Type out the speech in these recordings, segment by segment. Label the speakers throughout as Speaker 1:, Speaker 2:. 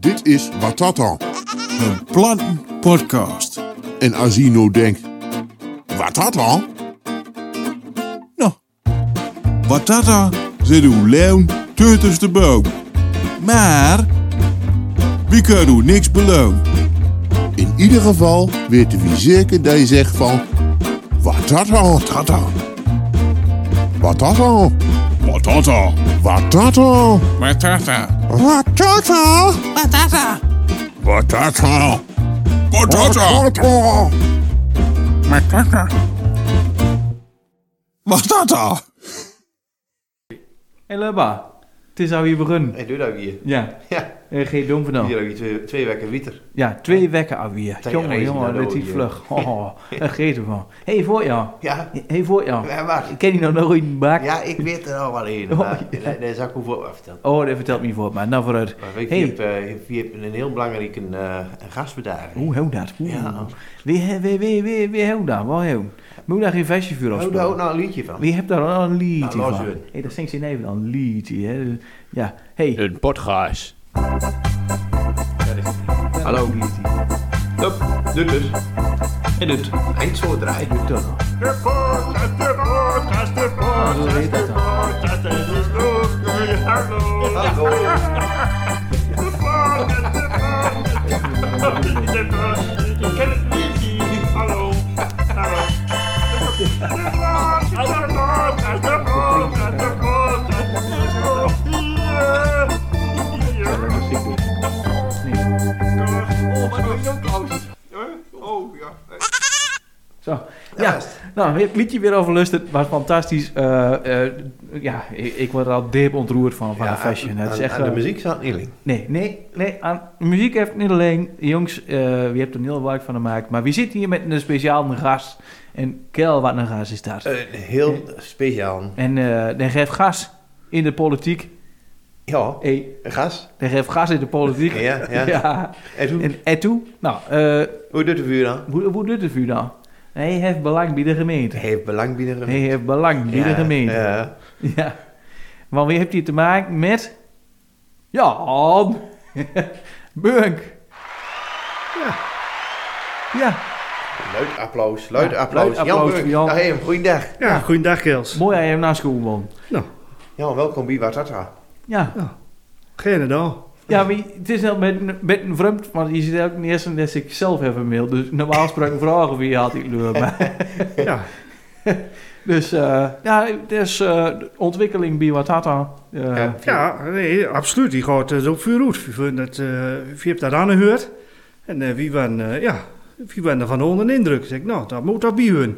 Speaker 1: Dit is Wat dat dan?
Speaker 2: Een plantenpodcast.
Speaker 1: En Asino denkt, wat dat dan?
Speaker 2: Nou, Batata zit uw leeuw tussen de boom. Maar, wie kan u niks beloon?
Speaker 1: In ieder geval weten we zeker dat je zegt van, wat dat dan?
Speaker 2: Dat dan,
Speaker 1: Wat dat dan?
Speaker 2: Batata,
Speaker 1: Wat dat dan?
Speaker 2: Batata,
Speaker 1: Wat dat dan?
Speaker 2: Batata,
Speaker 1: Wat dat dan?
Speaker 2: Batata,
Speaker 1: Wat dat dan?
Speaker 2: Batata. Batata.
Speaker 3: Hé hey, Lubba, het is al weer begonnen.
Speaker 4: Ik doe dat hier.
Speaker 3: Ja,
Speaker 4: Ja,
Speaker 3: eh, geen dom van nou.
Speaker 4: hier heb je twee, twee weken wieter.
Speaker 3: Ja, twee wekken al weer.
Speaker 4: Tegen
Speaker 3: Jongen,
Speaker 4: reis
Speaker 3: jongen,
Speaker 4: naar de
Speaker 3: dat is
Speaker 4: olie.
Speaker 3: vlug. Oh, daar geet ervan. Hé, hey, voor jou.
Speaker 4: Ja,
Speaker 3: Hé, hey, voor jou.
Speaker 4: Ja, waar?
Speaker 3: Ik ken die nou nooit in de bak.
Speaker 4: ja, ik weet er al wel een.
Speaker 3: Oh,
Speaker 4: maar
Speaker 3: ja.
Speaker 4: Daar daar zou ik hoeveel af vertellen.
Speaker 3: Oh, dat vertelt me voor, maar nou vooruit.
Speaker 4: Maar ik
Speaker 3: Hey.
Speaker 4: heb, eh, je hebt een heel belangrijke eh, een gastbedaging.
Speaker 3: Hoe hoe dat? Oeh.
Speaker 4: Ja.
Speaker 3: Wie, wie, wie, wie, wie houdt dat? Waar houdt? Moet daar geen festival
Speaker 4: Hou daar ook
Speaker 3: afspelen?
Speaker 4: nou een liedje van.
Speaker 3: Wie hebt daar al een liedje
Speaker 4: Nou,
Speaker 3: van?
Speaker 4: laat je.
Speaker 3: hey, dat zingt ze in even een liedje, hè. Ja, hé. Hey.
Speaker 5: Een podcast.
Speaker 4: Hallo.
Speaker 3: Een liedje.
Speaker 4: Hup, dit dus. En dit. Eind zo draaien.
Speaker 3: Doe dat nou. Hoe heet dat dan?
Speaker 4: Hallo.
Speaker 6: Hallo.
Speaker 4: Oh, ja.
Speaker 3: Zo. Ja,
Speaker 4: Juist.
Speaker 3: nou, we hebben het liedje weer overlusterd. Het was fantastisch. Eh, eh, ja, ik, ik word er al diep ontroerd van, van
Speaker 4: Ja,
Speaker 3: de fashion.
Speaker 4: aan-
Speaker 3: Het is
Speaker 4: aan-
Speaker 3: echt,
Speaker 4: aan de
Speaker 3: eh,
Speaker 4: muziek staat niet in.
Speaker 3: Nee, nee, nee. Aan, muziek heeft niet alleen. Jongens, eh wie hebt er heel werk van gemaakt. Maar wie zit hier met een speciaal gast? En kel wat een gast is dat.
Speaker 4: Een Eh, heel speciaal.
Speaker 3: En eh die geeft gas in de politiek.
Speaker 4: Ja,
Speaker 3: Hé,
Speaker 4: een gast.
Speaker 3: die geeft gas in de politiek.
Speaker 4: Ja, ja. En hoe,
Speaker 3: En, en toe? Nou, eh,
Speaker 4: hoe doet de vuur dan?
Speaker 3: hoe, hoe doet het u dan? Hij heeft belang bij de gemeente.
Speaker 4: Heeft belang binnen.
Speaker 3: Hij heeft belang bij de gemeente.
Speaker 4: Ja.
Speaker 3: Ja. Want wie heeft hier te maken met? Jan Bunk.
Speaker 4: Ja.
Speaker 3: Ja,
Speaker 4: Luid applaus, luid
Speaker 3: Ja,
Speaker 4: applaus.
Speaker 3: luid applaus
Speaker 4: Jan, Burg,
Speaker 3: voor Jan.
Speaker 4: Dag heen, goeiedag.
Speaker 7: Ja, goeiedag Kels.
Speaker 3: mooi dat je hem naast school man.
Speaker 4: Jan, welkom bij Watata.
Speaker 3: Ja,
Speaker 7: Geen dan.
Speaker 3: ja maar het is wel met, een- met een vreemd, want je zit ook in de eerste les ik zelf even mail. Dus normaal gesproken vragen wie had ik leur. maar-
Speaker 7: Ja,
Speaker 3: Dus eh, ja, het is eh, de ontwikkeling bij Watata. Eh, ja.
Speaker 7: ja nee, absoluut. Die gaat eh, zo vuur uit. Wie vindt het, eh, wie hebt dat aangehoord? En eh, wie waren, eh, ja, wie waren er van onder de indruk? Zeg ik, nou, dat moet dat bij hun.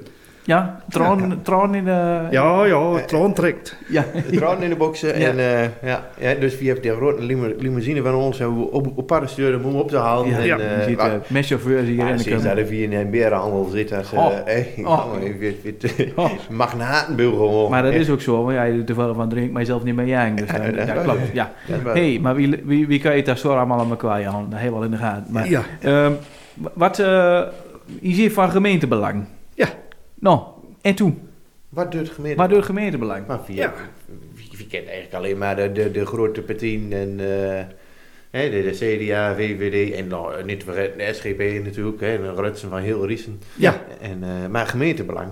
Speaker 3: traan, traan in de...
Speaker 7: Ja, ja, het land trekt.
Speaker 3: ja.
Speaker 4: De trouwen in de boksen.
Speaker 3: Ja.
Speaker 4: En, eh, ja, ja, dus wie heeft die grote limo- limousine van ons hebben we op, op pad gestuurd om hem op te halen.
Speaker 3: Ja,
Speaker 4: en,
Speaker 7: ja.
Speaker 4: eh,
Speaker 3: Je ziet,
Speaker 4: wa-
Speaker 3: eh, met chauffeurs hier
Speaker 4: ja,
Speaker 3: in de
Speaker 4: precies,
Speaker 3: kamer.
Speaker 4: dat hij in een berenhandel zit. Als,
Speaker 3: Oh.
Speaker 4: eh, eh,
Speaker 3: Oh.
Speaker 4: jongen, je weet- weet-
Speaker 3: Oh.
Speaker 4: Magnatenbul gewoon.
Speaker 3: Maar dat
Speaker 4: Ja,
Speaker 3: is ook zo, want ja, je toevallig van drinkt mijzelf niet meer jang. Dus eh,
Speaker 4: dat
Speaker 3: ja,
Speaker 4: is
Speaker 3: klopt.
Speaker 4: waar.
Speaker 3: Ja.
Speaker 4: dat is waar.
Speaker 3: Hé, hey, maar wie, wie, wie kan je daar zo allemaal aan elkaar houden? Dat helemaal in de gaten. Maar,
Speaker 7: Ja,
Speaker 3: ehm, wa- wat eh, is hier van gemeentebelang?
Speaker 7: Ja.
Speaker 3: Nou, en toen?
Speaker 4: Wat doet gemeente?
Speaker 3: Maar door gemeentebelang?
Speaker 4: Maar wie,
Speaker 7: Ja.
Speaker 4: wie, wie kent eigenlijk alleen maar de, de, de grote partien en eh, hè, de, de CDA, VVD en nou, niet te vergeten de SGP natuurlijk. Hè, en Rutsen van heel Riesen.
Speaker 7: ja.
Speaker 4: En, eh, maar gemeentebelang.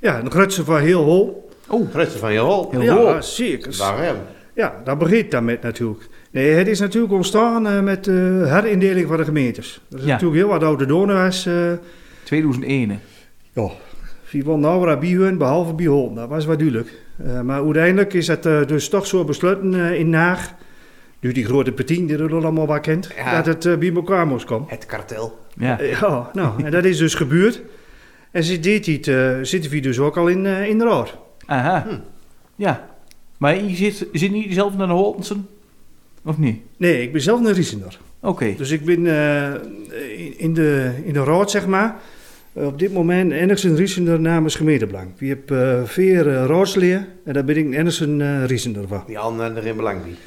Speaker 7: ja een grutsen van heel hol.
Speaker 3: Oh.
Speaker 4: Rutsen van Jol.
Speaker 3: Heel
Speaker 7: Ja,
Speaker 3: hoog.
Speaker 7: zeker.
Speaker 4: Waarom?
Speaker 7: Ja, dat begint dan met natuurlijk. Nee, het is natuurlijk ontstaan eh, met de herindeling van de gemeentes. Dat is
Speaker 3: Ja.
Speaker 7: natuurlijk heel wat oude donora's. eh,
Speaker 3: 2001. hè?
Speaker 7: Ja, wie wil nou naar Bihun behalve Bihon? Dat was wel duidelijk. Eh, maar uiteindelijk is het eh, dus toch zo besloten eh, in Naag. Nu die grote petien die er allemaal wel kent.
Speaker 4: Ja.
Speaker 7: Dat het eh bij elkaar moest komen.
Speaker 4: Het kartel.
Speaker 3: Ja.
Speaker 7: Eh, ja, nou, en dat is dus gebeurd. En ze deed dit, eh, zitten we dus ook al in, eh, in de raad.
Speaker 3: Aha.
Speaker 4: Hm.
Speaker 3: Ja. Maar je zit, zit niet zelf naar de Holtensen? Of niet?
Speaker 7: Nee, ik ben zelf een Riesender.
Speaker 3: Oké.
Speaker 7: Dus ik ben eh, in, in de, in de raad, zeg maar. eh, op dit moment Enigsen Riesender namens gemeentebelang. Ik heb eh vier eh, raadsleer en daar ben ik Enigsen eh Riesender van.
Speaker 4: Die anderen erin belang niet.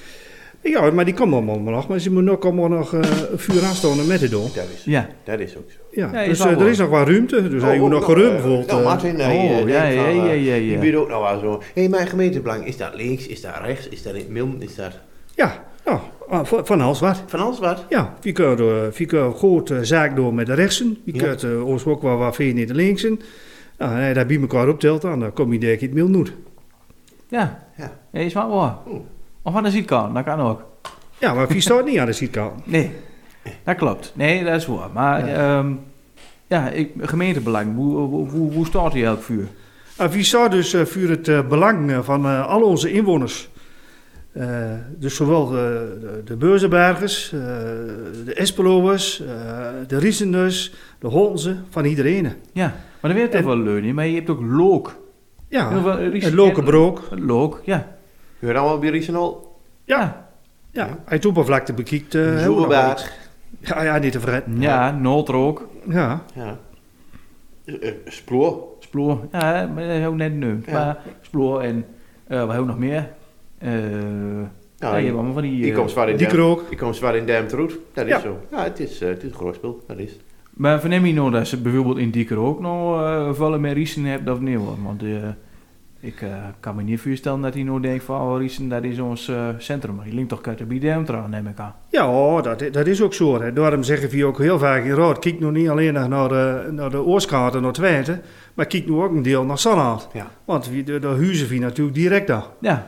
Speaker 7: Ja, maar die komen allemaal nog. Maar ze moeten ook allemaal nog eh, vuur aanstonden met het door.
Speaker 4: Dat is,
Speaker 3: Ja.
Speaker 4: dat is ook zo.
Speaker 7: Ja,
Speaker 3: Ja, je
Speaker 7: dus
Speaker 3: zou
Speaker 7: eh, er
Speaker 3: wel.
Speaker 7: is nog wat ruimte. Dus hij
Speaker 4: Oh,
Speaker 7: moet
Speaker 4: oh,
Speaker 7: nog geruimd
Speaker 4: eh,
Speaker 7: bijvoorbeeld.
Speaker 4: Nou,
Speaker 7: eh,
Speaker 4: Martin, hij,
Speaker 3: oh,
Speaker 4: eh, denkt
Speaker 3: ja, ja,
Speaker 4: van, eh,
Speaker 3: ja, ja, ja.
Speaker 4: Die biedt ook nou wel zo. Hé, hey, mijn gemeentebelang, is dat links? Is dat rechts? Is dat in het midden? Is dat...
Speaker 7: ja, nou, Ah, van van alles wat.
Speaker 4: Van alles wat.
Speaker 7: Ja, we kunnen, eh, we kunnen goed eh, zaak door met de rechtsen. We
Speaker 4: Ja.
Speaker 7: kunnen eh, ons ook wel wat vinden in de linksen. Nou, en als je dat bij elkaar optelt, dan eh, kom je denk ik het miljoen uit.
Speaker 3: Ja.
Speaker 4: Ja.
Speaker 3: Ja, is maar waar.
Speaker 4: Oeh.
Speaker 3: Of aan de zijkant, dat kan ook.
Speaker 7: Ja, maar wie staat niet aan de zijkant?
Speaker 3: Nee, dat klopt. Nee, dat is waar. Maar ja, ja ik, gemeentebelang, hoe, hoe, hoe, hoe staat die elk vuur?
Speaker 7: Ah, wie staat dus eh, voor het eh, belang eh, van eh, al onze inwoners. Eh, dus zowel de, de, de Beurzenbergers, eh, de Espelovers, eh, de Riesenders, de Holzen, van iedereen.
Speaker 3: Ja, maar dan weet je toch
Speaker 7: En-
Speaker 3: wel leunie, maar je hebt ook look.
Speaker 7: Ja,
Speaker 3: Heel veel Ries-
Speaker 7: en eh, Lokenbroek.
Speaker 3: en- Look, ja.
Speaker 4: Je hoort allemaal bij Riesenol.
Speaker 3: Ja,
Speaker 7: Ja, hij oppervlakte bekiekt. eh, hebben we nog wel iets.
Speaker 4: Zoerenbaard.
Speaker 7: Ja, ja, niet te vergeten.
Speaker 3: ja noodrook,
Speaker 7: Ja,
Speaker 4: Ja. Eh, eh, Sploor.
Speaker 3: sploor. Ja, maar dat is ook net nu.
Speaker 4: Ja.
Speaker 3: Maar sploor en eh wat hebben we nog meer? Eh
Speaker 4: Nou,
Speaker 3: ja, je hebt allemaal van die...
Speaker 4: ik
Speaker 3: eh,
Speaker 4: kom zwaar in
Speaker 7: die
Speaker 4: Duim-
Speaker 7: krook.
Speaker 4: Ik kom zwaar in Duim terug. Dat is
Speaker 7: Ja.
Speaker 4: zo. Ja, het is, eh, het is een groot spel. Dat is. het.
Speaker 3: Maar verneem je nou dat ze bijvoorbeeld in Dieker ook nog eh vallen met Riesen hebben of niet? hoor? Want eh, ik eh, kan me niet voorstellen dat hij nou denkt van oh, Riesen dat is ons eh, centrum. Maar die linkt toch uit de BDM trouwens, neem ik aan.
Speaker 7: Ja, oh, dat, i- dat is ook zo. Hè. Daarom zeggen we ook heel vaak in Rood, kijk nou niet alleen nog naar de, naar de Oorskant en naar Twente, maar kijk nu ook een deel naar Sanland.
Speaker 4: Ja.
Speaker 7: Want wie- de, de huizen we natuurlijk direct daar.
Speaker 3: Ja,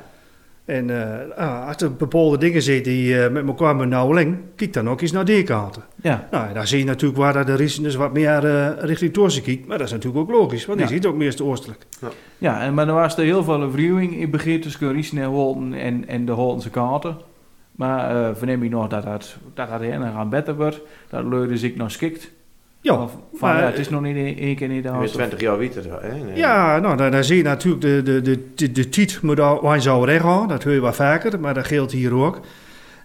Speaker 7: En eh, ah, als er bepaalde dingen zitten die eh, met elkaar met nauweling, kijk dan ook eens naar die kanten.
Speaker 3: ja,
Speaker 7: Nou, en dan zie je natuurlijk waar dat de Riesen dus wat meer eh, richting Torsen kijkt. Maar dat is natuurlijk ook logisch, want
Speaker 3: Ja.
Speaker 7: die zit ook meest oostelijk.
Speaker 3: ja. En, maar er was er heel veel vernieuwing in begin tussen Riesen en Holten en, en de Holtense kaarten. Maar eh, verneem je nog dat dat, dat, dat heel erg aan beter wordt, dat Leuden zich nog schikt.
Speaker 7: Ja,
Speaker 3: Of van,
Speaker 7: maar-
Speaker 3: ja, het is nog niet in één keer niet
Speaker 4: Je bent
Speaker 3: de
Speaker 4: 20 jaar wieter. Hè? Nee.
Speaker 7: Ja, nou, dan, dan zie je natuurlijk de, de, de, de, de tiet moet al- waar je zou recht houden. Dat hoor je wel vaker, maar dat geldt hier ook.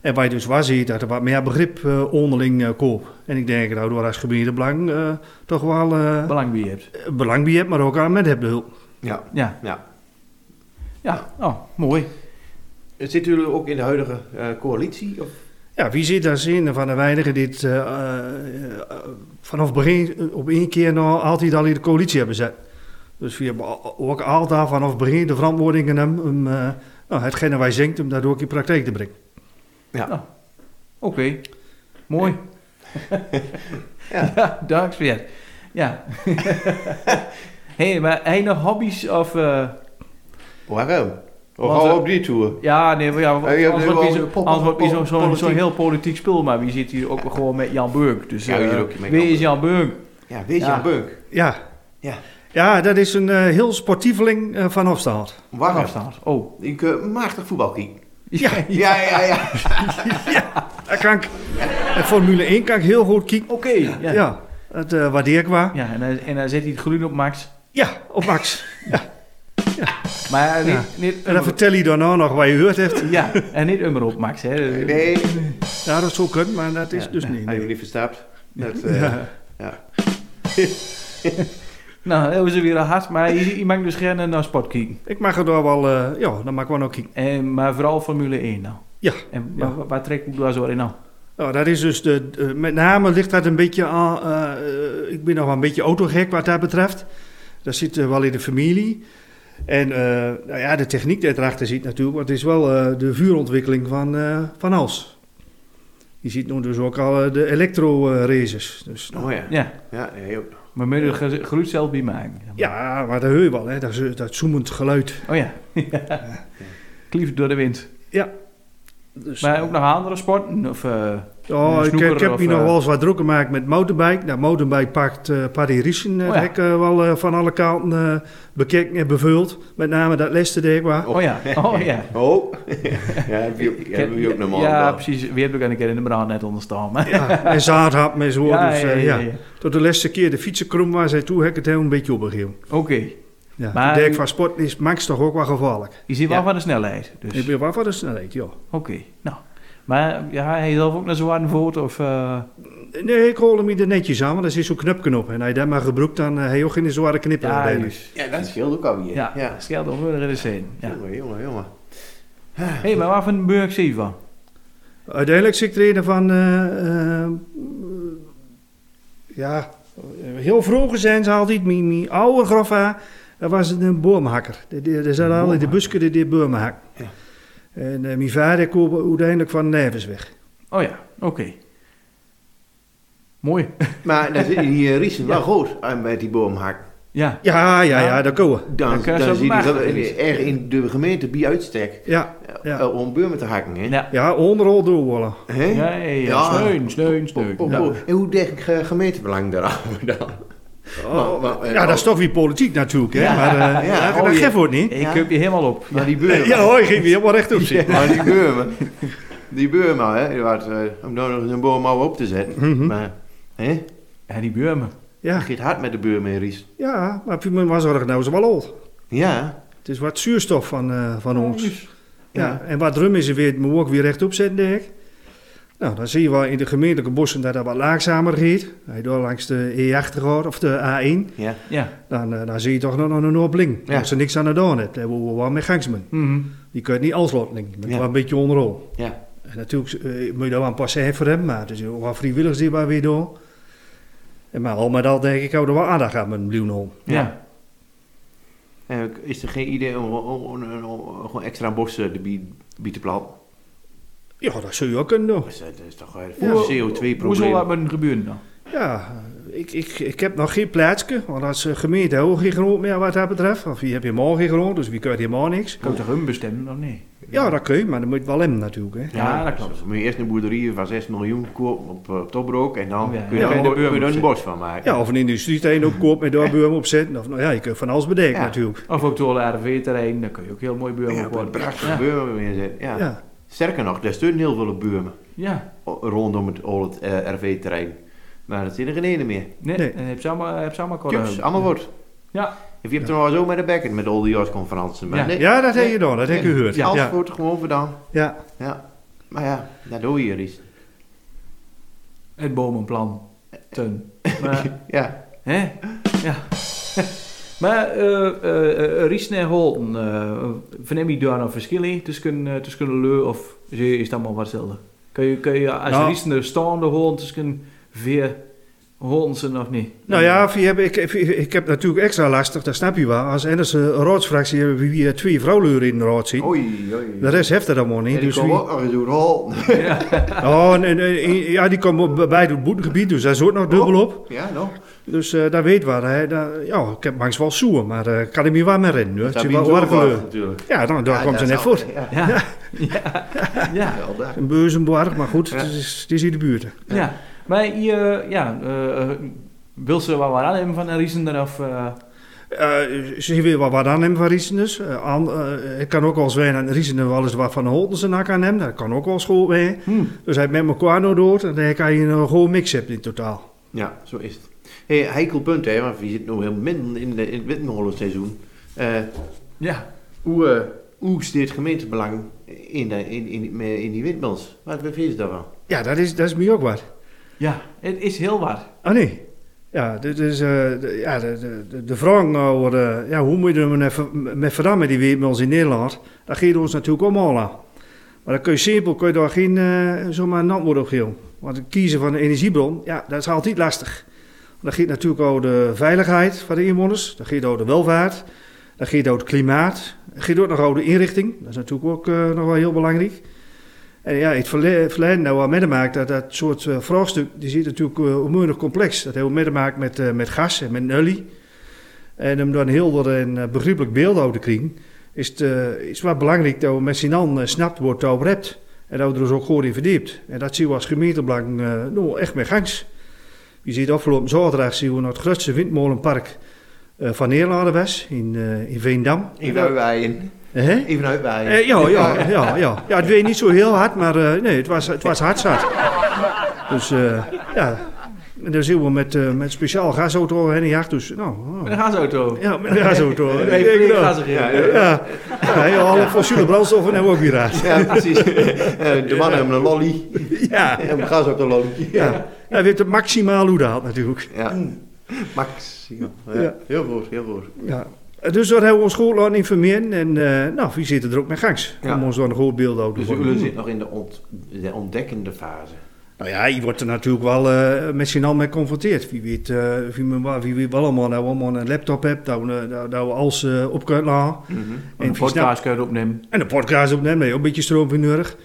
Speaker 7: En waar je dus waar ziet dat er wat meer begrip eh, onderling eh komt. En ik denk dat door als gemeentebelang eh toch wel eh,
Speaker 3: belang bij je hebt.
Speaker 7: belang bij hebt, maar ook aan met hebt de hulp.
Speaker 4: ja.
Speaker 3: Ja,
Speaker 4: Ja.
Speaker 3: ja. oh, mooi.
Speaker 4: Zitten jullie ook in de huidige eh, coalitie? Of?
Speaker 7: Ja, wie zit daar zin van de weinigen die dit eh, eh, eh, vanaf begin eh, op één keer nou altijd al in de coalitie hebben gezet. Dus we hebben al- ook altijd vanaf begin de verantwoording aan hem om eh, nou, hetgene wij zingt, om dat ook in praktijk te brengen.
Speaker 4: Ja.
Speaker 3: Nou, Oké, mooi.
Speaker 4: Ja.
Speaker 3: ja, dankzij weer. Ja. Hé, hey, maar hij nog hobby's of... eh,
Speaker 4: Waarom? We
Speaker 3: Want,
Speaker 4: gaan
Speaker 3: eh,
Speaker 4: op die tour.
Speaker 3: ja, nee, maar ja,
Speaker 4: Ja, je hebt
Speaker 3: anders
Speaker 4: nu
Speaker 3: wordt
Speaker 4: wel
Speaker 3: hij zo-
Speaker 4: pop-
Speaker 3: anders wordt hij zo'n
Speaker 4: pop-
Speaker 3: zo, zo'n
Speaker 4: politiek.
Speaker 3: heel politiek spul, maar wie zit hier ook gewoon met Jan Beunk? Dus,
Speaker 4: Ja, wie
Speaker 3: eh,
Speaker 4: zit ook met
Speaker 3: wie
Speaker 4: Jan
Speaker 3: is Jan Beunk?
Speaker 4: Ja, weet je
Speaker 3: Ja.
Speaker 4: aan Bunk?
Speaker 7: Ja.
Speaker 4: Ja.
Speaker 7: Ja, dat is een eh, heel sportieveling eh van Hofstad.
Speaker 4: Waarom?
Speaker 3: staat? Oh.
Speaker 4: Ik eh maagdig voetbalkie.
Speaker 3: Ja.
Speaker 4: Ja, ja, ja.
Speaker 7: Daar kan ik, eh, Formule 1 kan ik heel goed kijken.
Speaker 3: Oké.
Speaker 7: Ja,
Speaker 3: Ja. Ja.
Speaker 7: dat eh, waardeer ik wel.
Speaker 3: en, dan, en dan zet hij het groen op Max.
Speaker 7: Ja, op Max.
Speaker 3: Maar eh, niet...
Speaker 7: Ja.
Speaker 3: niet
Speaker 7: En dan
Speaker 3: ummer-
Speaker 7: vertel je dan nou nog wat je gehoord hebt.
Speaker 3: ja, en niet ummer op Max, hè.
Speaker 4: Nee,
Speaker 7: Ja, dat zou kunnen, maar dat is dus niet.
Speaker 4: hij
Speaker 7: nee.
Speaker 4: heeft niet verstapt. Dat, eh,
Speaker 3: Nou, hebben ze weer een hart, maar je, je mag dus gerne naar sport kijken.
Speaker 7: Ik mag er daar wel, eh, ja, dan mag ik wel nog kijken.
Speaker 3: En, Eh, maar vooral Formule 1 nou.
Speaker 7: Ja.
Speaker 3: En wa- wa- waar trekt Boedla zo in nou?
Speaker 7: Nou, dat is dus de, de- met name ligt dat een beetje aan. eh, eh, ik ben nog wel een beetje autogek wat dat betreft. Dat zit eh, wel in de familie. En eh, nou ja, de techniek die erachter zit natuurlijk, want het is wel eh, de vuurontwikkeling van, eh van Als. Je ziet nu dus ook al eh, de elektro-races. Dus, nou,
Speaker 4: oh ja.
Speaker 3: Ja,
Speaker 4: Ja, nee, ook.
Speaker 3: maar moet je er ge- geluid zelf bij maken.
Speaker 7: ja, maar dat hoor je wel, hè, dat, zo- dat zoemend geluid.
Speaker 3: Oh ja. ja. Klieft door de wind.
Speaker 7: Dus,
Speaker 3: Maar ook nog andere sporten? Of, eh,
Speaker 7: Ja,
Speaker 3: een
Speaker 7: ik,
Speaker 3: snoeker
Speaker 7: ik heb
Speaker 3: of,
Speaker 7: hier
Speaker 3: eh,
Speaker 7: nog wel eens wat druk gemaakt met motorbike. Nou, motorbike pakt eh Paris Riesen eh,
Speaker 3: Oh ja.
Speaker 7: hek, eh, wel eh, van alle kanten eh, bekeken en bevuld. Met name dat leste deed ik wel.
Speaker 3: oh ja, oh ja.
Speaker 4: Oh. ja, heb je, ook- hebben we ook normaal.
Speaker 3: Ja,
Speaker 4: wel.
Speaker 3: precies. Wie heb ik al een keer in de brand net onderstaan. maar-
Speaker 7: Ja, en zaadhap en zo.
Speaker 3: Ja,
Speaker 7: dus,
Speaker 3: ja,
Speaker 7: eh,
Speaker 3: ja,
Speaker 7: ja,
Speaker 3: ja.
Speaker 7: Tot de laatste keer de fietsen krom was en toen heb ik het heel een beetje opgegeven.
Speaker 3: Oké,
Speaker 7: Ja.
Speaker 3: Maar-
Speaker 7: Maar, denk van sport is Max toch ook wel gevaarlijk.
Speaker 3: je ziet wel
Speaker 4: Ja.
Speaker 3: van de snelheid. Dus.
Speaker 7: Ik
Speaker 3: Oké,
Speaker 7: ben wel van de snelheid, ja.
Speaker 3: nou. Maar ja, hij zelf ook naar zo'n voort of... eh,
Speaker 7: Nee, ik rol hem hier netjes aan, want er zit zo'n knopknop. En als je dat maar gebruikt, dan heb je ook geen zware knipper aan
Speaker 3: ja,
Speaker 7: de benen.
Speaker 3: juist.
Speaker 4: Ja, dat scheelt ook alweer.
Speaker 3: ja,
Speaker 4: ja.
Speaker 3: scheelt al verder in de scène. Ja.
Speaker 4: Jongen, jongen, jongen.
Speaker 3: Hé, hey, maar waar van Burg zie je van?
Speaker 7: Uiteindelijk zit ik er een van. eh, eh, ja, heel vroeger zijn ze altijd. Mijn, mijn oude groffa, dat was een boomhakker. Die- die- Die zat al in de
Speaker 3: boomhakker.
Speaker 7: busken die, die bomen hak.
Speaker 4: Ja.
Speaker 7: En eh, mijn vader kwam uiteindelijk van Neves weg.
Speaker 3: Oh ja, oké. Mooi.
Speaker 4: Maar dan zit die Riesen wel goed aan met die boomhak.
Speaker 3: Ja,
Speaker 7: Ja, ja, ja,
Speaker 3: Ja.
Speaker 7: dat komen.
Speaker 4: Dan,
Speaker 3: Dan kan je
Speaker 4: dan
Speaker 3: ze
Speaker 4: zit
Speaker 3: ook
Speaker 4: die
Speaker 3: maken.
Speaker 4: wel- erg in de gemeente bij uitstek
Speaker 7: Ja, Ja.
Speaker 4: eh, om buurmen te hakken. Hè?
Speaker 3: ja.
Speaker 7: ja onderrol doorwollen.
Speaker 4: Hè?
Speaker 3: Ja, ja, ja. Steun, steun, steun.
Speaker 4: Pop, pop, pop. En hoe denk ik eh, gemeentebelang daarover dan? Maar- maar, eh,
Speaker 7: Ja, dat is toch weer politiek natuurlijk, hè? Maar eh
Speaker 4: Ja.
Speaker 7: ja,
Speaker 4: Oh,
Speaker 7: dat
Speaker 4: ja.
Speaker 7: geeft wordt niet.
Speaker 3: Ik heb je helemaal op.
Speaker 4: Maar die buurman,
Speaker 7: Ja, hoor, je ging weer helemaal rechtop zitten.
Speaker 4: maar die buurman, die buurman, hè, die was, eh, om nou nog een boom maar op te zetten.
Speaker 7: Mhm.
Speaker 4: Maar, hè,
Speaker 3: Ja, die buurman.
Speaker 7: Ja,
Speaker 4: het gaat hard met de buurman in Ries.
Speaker 7: ja, maar Piemen was er nou zo wel oud.
Speaker 4: Ja,
Speaker 7: Het is wat zuurstof van, eh, van ons. Ja,
Speaker 4: Ja.
Speaker 7: en wat drum is er weer, moet ook weer rechtop zetten, denk ik. Nou, dan zie je wel in de gemeentelijke bossen dat dat wat laagzamer gaat. Hij door langs de E8 gaat, of de A1,
Speaker 4: ja.
Speaker 3: Ja.
Speaker 7: dan, eh, dan zie je toch nog nog een opbling.
Speaker 4: Ja.
Speaker 7: Als er niks aan de doen hebt, dan worden we wel met gangsmen.
Speaker 3: Mhm.
Speaker 7: Die kun je niet alslotling, dat is
Speaker 4: Ja.
Speaker 7: wel een beetje onderrol.
Speaker 4: Ja,
Speaker 7: En natuurlijk eh, moet je daar wel een passé voor hebben, maar het is ook wel vrijwilligers die maar weer door. En maar al met al denk ik, hou er wel aandacht aan met een bloemhol.
Speaker 3: Ja.
Speaker 4: en is er geen idee om, om- om- om- om gewoon extra bossen erbij bij te planten?
Speaker 7: Ja, dat zou je ook kunnen doen.
Speaker 4: Dat is, dat is toch eh, een
Speaker 3: Hoe- Hoe zal dat
Speaker 4: CO2-probleem?
Speaker 3: met een gebeuren dan?
Speaker 7: Ja, ik, ik, ik heb nog geen plaatsje, want als eh, gemeente ook geen grond meer wat dat betreft. Of hier heb je helemaal geen grond, dus wie kan helemaal niks.
Speaker 3: Kan je toch hun bestemmen of nee?
Speaker 7: Ja, dat kun je, maar dan moet je het wel hebben natuurlijk. Hè.
Speaker 3: Ja, dat klopt.
Speaker 4: Dus moet je eerst een boerderij van 6 miljoen kopen op, eh, op Tobruk en dan
Speaker 3: Ja,
Speaker 4: kun
Speaker 3: ja.
Speaker 4: je daar
Speaker 3: Ja,
Speaker 4: een-
Speaker 3: de buurman
Speaker 4: kun je er een
Speaker 3: zit.
Speaker 4: bos van maken.
Speaker 7: Ja, of een industrieterrein ook koop met daar buurman op zetten. Of, nou ja, je kunt van alles bedenken
Speaker 4: Ja.
Speaker 7: natuurlijk.
Speaker 3: Of ook door de RV-terrein, daar kun je ook heel mooi buurman
Speaker 4: Ja,
Speaker 3: op worden.
Speaker 4: prachtige
Speaker 3: ja.
Speaker 4: buurman neerzetten. Ja.
Speaker 7: Ja.
Speaker 4: Sterker nog, er steunen heel veel buurmen
Speaker 3: ja,
Speaker 4: o- rondom het, al het eh, RV-terrein. Maar dat zit er geen ene meer.
Speaker 3: nee,
Speaker 7: Nee.
Speaker 3: en heb ze allemaal, heb ze allemaal korte
Speaker 4: Tjups,
Speaker 3: heupen.
Speaker 4: allemaal wordt.
Speaker 3: Ja,
Speaker 4: Of je hebt er wel zo met de bekken met al die jaarsconferenties. Maar
Speaker 3: Ja.
Speaker 4: nee,
Speaker 7: Ja, dat heb je dan, dat heb je gehoord.
Speaker 4: alles
Speaker 7: ja.
Speaker 4: wordt gewoon gedaan.
Speaker 7: ja.
Speaker 4: Ja. Maar ja, dat doe je hier iets.
Speaker 3: het bomenplan. Ten. Maar,
Speaker 4: Ja.
Speaker 3: Hè? Ja. maar eh eh, eh, Riesen en Holten, eh, verneem je daar een verschil in tussen, eh, tussen Leu of Zee is dat maar wat hetzelfde? Kun je, kun je als
Speaker 7: Nou.
Speaker 3: Riesen er staande Holten tussen vier Holtensen of niet?
Speaker 7: Nou ja, wie heb, ik, ik- ik heb natuurlijk extra lastig, dat snap je wel. Als Ennis eh, een raadsfractie hebben we hier twee vrouwleuren in de raad zien.
Speaker 4: Oei, oei.
Speaker 7: De rest heeft er allemaal niet.
Speaker 4: En Oh. die
Speaker 7: Dus
Speaker 4: komen
Speaker 7: wie-
Speaker 4: ook nog eens door de hal.
Speaker 7: oh, nee, nee, ja, die komen bij- bij het boetegebied, dus daar zit nog dubbel op.
Speaker 4: Ja, nou.
Speaker 7: Dus eh dat weet waar. Hè. Dat, ja, ik heb langs wel zoen, maar eh, ik kan er niet waar meer in. hoor. Het
Speaker 4: Dat
Speaker 7: is
Speaker 4: is
Speaker 7: wel wargeleur.
Speaker 4: natuurlijk.
Speaker 7: Ja, dan, daar
Speaker 4: Ja,
Speaker 7: komt ze
Speaker 4: dat
Speaker 7: net
Speaker 4: zou-
Speaker 7: voort.
Speaker 4: Ja,
Speaker 3: Ja. Ja. ja. ja.
Speaker 4: wel daar.
Speaker 7: Een beuzenborg, maar goed,
Speaker 4: Ja.
Speaker 7: het, is, het is in de buurt.
Speaker 3: Maar je, ja, eh, eh, wil ze wel wat aan hebben van een Riesen er of... eh,
Speaker 7: Eh, ze wil wel wat aan hem van Riesenus. Eh, aan- eh, het kan ook wel eens zijn aan Riesenen wel eens wat van Holten zijn hak aan hem. Dat kan ook wel eens goed zijn.
Speaker 3: hmm,
Speaker 7: Dus hij met elkaar nou dood en dan kan je een goede mix hebben in totaal.
Speaker 4: Ja, zo is het. Hé, hey, heikel punt, hè, want we zitten nu heel midden in, de, in het windmolenseizoen. Eh,
Speaker 3: ja.
Speaker 4: hoe, eh, hoe steert gemeentebelang in, de, in, in, eh, in die windmolens? Wat bevind je daarvan?
Speaker 7: Ja, dat is, dat is mij ook wat.
Speaker 3: ja, het is heel wat.
Speaker 7: Ah nee. Ja, dit is, eh, de, ja, de, de- de, de vraag over eh, ja, hoe moet je er met, ver- met verdammen die weet ons in Nederland, dat geeft ons natuurlijk allemaal aan. Maar dan kun je simpel, kun je daar geen eh, zomaar een antwoord op geven. Want het kiezen van een energiebron, ja, dat is altijd lastig. Dat geeft natuurlijk over de veiligheid van de inwoners, dat geeft over de welvaart, dat geeft over het klimaat, dat geeft ook nog over de inrichting, dat is natuurlijk ook eh, nog wel heel belangrijk. En ja, het verle- het verleden nou wel meegemaakt dat dat soort eh, vraagstuk, die zit natuurlijk eh onmogelijk complex. Dat hebben we meegemaakt met, eh, met gas en met nullie. En om daar een helder en eh, begrijpelijk beeld over te krijgen, is het eh, is wel belangrijk dat we met z'n allen eh, snapt wordt het over hebt. En dat we er dus ook goed in verdiept. En dat zien we als gemeentebelang eh, nou, echt met gangs. Je ziet afgelopen zaterdag zien we naar het grootste windmolenpark eh, van Nederland was, in, eh, in Veendam.
Speaker 4: Even uitwaaien.
Speaker 7: Hè?
Speaker 4: Even uitwaaien.
Speaker 7: Eh, ja, ja, ja, ja. Ja, het weet niet zo heel hard, maar eh, nee, het was, het was hard zat. Dus eh, ja, en dan zien we met, eh, met speciaal gasauto Henny Jacht, dus nou...
Speaker 3: Met
Speaker 7: oh.
Speaker 3: een gasauto.
Speaker 7: Ja, met een gasauto.
Speaker 3: Even
Speaker 7: Ik denk,
Speaker 3: flink
Speaker 7: nou,
Speaker 3: gas erin.
Speaker 4: Ja,
Speaker 7: Ja, ja, ja, alle fossiele brandstoffen hebben we ook weer aan.
Speaker 4: Ja, precies. Eh, de mannen hebben een lolly.
Speaker 7: Ja,
Speaker 4: En we gaan ze ook een lolly.
Speaker 7: ja. Hij weet het maximaal hoe dat had natuurlijk.
Speaker 4: Ja. Max. Ja.
Speaker 7: Mm. Ja.
Speaker 4: Heel goed, heel goed.
Speaker 7: Ja. Dus daar hebben we ons goed laten informeren en eh, nou, wie zit er ook met gangs?
Speaker 4: Ja.
Speaker 7: Om ons dan een goed beeld over
Speaker 4: Dus
Speaker 7: te
Speaker 4: Ulle
Speaker 7: worden.
Speaker 4: zit nog in de, ont, de ontdekkende fase.
Speaker 7: Nou ja, je wordt er natuurlijk wel eh, met z'n allen mee geconfronteerd. Wie weet, eh, wie, me- wa- wie weet wel allemaal dat we allemaal een laptop hebben, dat we, eh, dat, dat we alles eh, op kunnen laden.
Speaker 4: Mhm.
Speaker 3: Een
Speaker 7: vies, nou-
Speaker 3: podcast kun je het opnemen.
Speaker 7: En de podcast opnemen, nee, ook een beetje stroom voor nodig.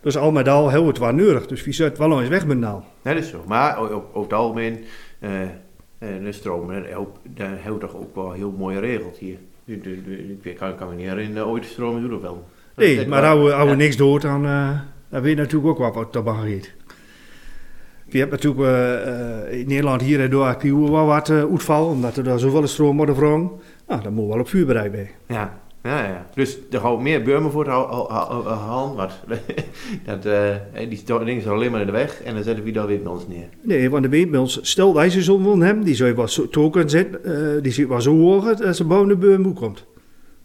Speaker 7: Dus al met al heel het waar nodig. Dus wie zet wel eens weg met nou.
Speaker 4: Ja, dat is zo. Maar o- o- over het algemeen, eh, eh, de stroom, eh, help- daar houdt toch ook wel heel mooi regeld hier. De- de- de- Ik kan, kan me niet herinneren ooit de stroom in Roereveld. Dat-
Speaker 7: Nee,
Speaker 4: dat
Speaker 7: maar
Speaker 4: wel-
Speaker 7: houden we, hou we
Speaker 4: ja.
Speaker 7: niks door, dan, eh dan weet je natuurlijk ook wat wat tabac heet. Je hebt natuurlijk eh, eh, in Nederland hier en daar kieuwen wel wat eh, uitval, omdat er daar zoveel stroom wordt wrong. Nou, dan moet wel op vuurbereid bij.
Speaker 4: Ja, ja, ja. Dus er gaan meer Burmen voor halen. Wat? dat, eh, die sto- dingen zijn alleen maar in de weg en dan zetten we daar weer bij ons neer.
Speaker 7: Nee, want de weet bij ons, stel dat je zo'n wil hebben, die zou je wel zo token zetten, eh, die zit wel zo hoog dat ze boven de boom komt.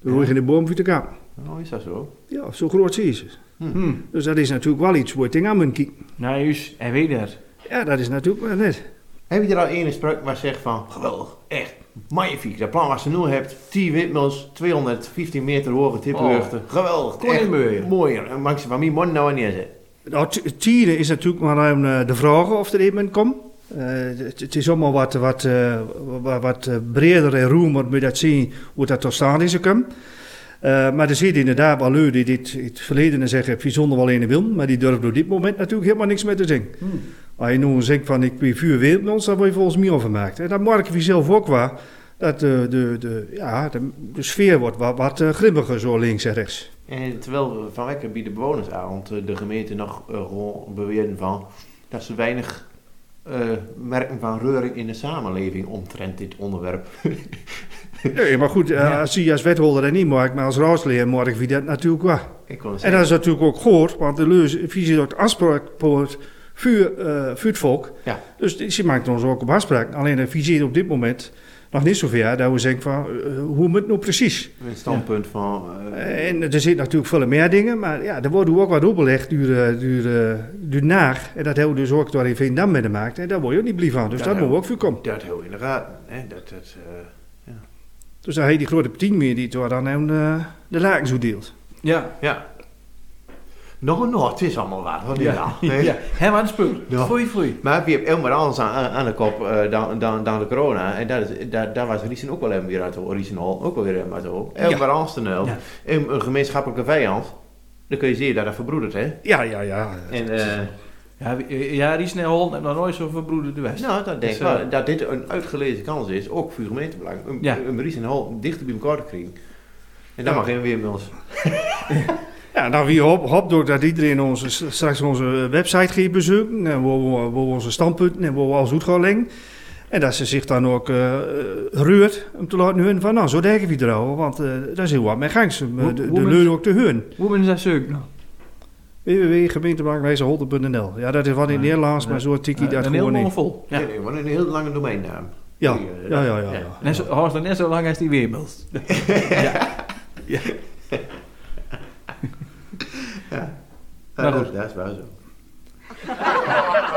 Speaker 7: Dan hoor je geen boom voor te kapen.
Speaker 4: Oh, is dat zo?
Speaker 7: Ja, zo groot is ze.
Speaker 3: Hm.
Speaker 7: Dus dat is natuurlijk wel iets waar je tegen aan moet kijken.
Speaker 3: Nou, juist, hij weet dat.
Speaker 7: Ja, dat is natuurlijk wel net.
Speaker 4: Heb je er al één spreuk waar zegt van, geweldig, echt, magnifiek. Dat plan wat ze nu hebt, 10 windmills, 215 meter hoge tippenheugten. Geweldig,
Speaker 3: Kon niet meer.
Speaker 4: mooi. En maak ze van mijn mond nou aan neerzetten.
Speaker 7: Nou, t- tieren is natuurlijk maar aan eh, de vraag of er iemand komt. Eh, het, het is allemaal wat, wat, eh, wat, wat eh, breder en ruimer moet dat zien hoe dat tot staan is gekomen. Eh, maar er zitten inderdaad wel lui die dit in het verleden zeggen, bijzonder wel in de wil, maar die durven door dit moment natuurlijk helemaal niks meer te zingen. Als je nu zegt van ik ben vuur weer met ons, dan word je volgens mij overmaakt. En dat merk je zelf ook wel, dat de, de, de, ja, de, de sfeer wordt wat, wat eh, grimmiger zo links en rechts.
Speaker 4: En terwijl we van Wekker bieden bewonersavond eh, de gemeente nog eh, gewoon beweren van dat ze weinig eh, merken van reuring in de samenleving omtrent dit onderwerp.
Speaker 7: Nee, maar goed, eh,
Speaker 3: Ja.
Speaker 7: als je als wethouder dat niet maakt, maar als raadslid mag ik wie dat natuurlijk wel.
Speaker 4: Ik kon
Speaker 7: En
Speaker 4: zeggen,
Speaker 7: dat is natuurlijk ook goed, want de leus visie dat afspraakpoort vuur, eh vuur het volk.
Speaker 4: Ja.
Speaker 7: Dus die- ze maakt ons ook op afspraak. Alleen de visie is op dit moment nog niet zover dat we zeggen van, eh, hoe moet het nou precies?
Speaker 4: een standpunt van... eh,
Speaker 7: En er zitten natuurlijk veel meer dingen, maar ja, er wordt ook wat opgelegd duur, eh, duur, eh, duur naag. En dat hebben we dus ook door in Veendam mee gemaakt. En daar word je ook niet blij van, dus
Speaker 4: Ja,
Speaker 7: daar
Speaker 4: ja.
Speaker 7: moeten we ook voor komen.
Speaker 4: dat heel in de gaten. Hè? Dat, dat, eh,
Speaker 7: Dus dan heb je die grote tien meer die door dan aan, eh, de lakens deelt.
Speaker 3: Ja.
Speaker 4: ja. Nou, nou, het is allemaal waar. Wat ja.
Speaker 3: Ja. ja. Hem aan het spul.
Speaker 4: Ja.
Speaker 3: Foei, foei.
Speaker 4: Maar je hebt helemaal anders aan, aan- aan de kop eh, dan, dan, dan de corona. En dat is, daar, daar was Riesen ook wel even weer uit de Riesen Hall ook wel weer even uit de hoop. Helemaal anders dan wel.
Speaker 3: Ja.
Speaker 4: En Een gemeenschappelijke vijand. Dan kun je zien dat dat verbroedert, hè?
Speaker 7: Ja, ja, ja.
Speaker 4: En eh,
Speaker 3: Ja, wie- eh, ja die snel heeft nog nooit zo verbroederd de West.
Speaker 4: nou, dat denk
Speaker 3: Dus,
Speaker 4: ik
Speaker 3: eh,
Speaker 4: wel, dat dit een uitgelezen kans is, ook voor gemeentebelang, om
Speaker 3: Ja.
Speaker 4: om Riesen Hall dichter bij elkaar te krijgen. En
Speaker 7: Ja.
Speaker 4: dan mag geen weer met ons.
Speaker 7: Ja, nou wie hop, hop door dat iedereen onze, straks onze website gaat bezoeken. En waar we, waar we onze standpunten en waar we alles goed gaan leggen. En dat ze zich dan ook eh ruurt om te laten horen van nou, zo denken we erover. Want eh daar is heel wat mee gangs om eh,
Speaker 3: Hoe-
Speaker 7: de,
Speaker 3: hoe
Speaker 7: de
Speaker 3: men-
Speaker 7: leur ook te horen.
Speaker 3: Hoe ben je dat zeuk nou?
Speaker 7: www.gemeentebankwijzerholten.nl Ja, dat is wat in het
Speaker 3: Ja.
Speaker 7: Nederlands, maar zo tiki
Speaker 3: Eh,
Speaker 7: dat
Speaker 3: een heel
Speaker 7: gewoon
Speaker 3: mond
Speaker 7: niet.
Speaker 3: vol.
Speaker 4: Ja.
Speaker 3: Ja.
Speaker 4: Nee, want een heel lange domeinnaam.
Speaker 7: Ja,
Speaker 4: Die, eh,
Speaker 7: ja, ja, ja.
Speaker 4: ja.
Speaker 7: ja.
Speaker 3: Net zo, Horst, net zo lang als die weer wilt.
Speaker 4: Ja,
Speaker 3: Nou,
Speaker 4: dat,
Speaker 3: goed.
Speaker 4: Eh, dat is waar zo.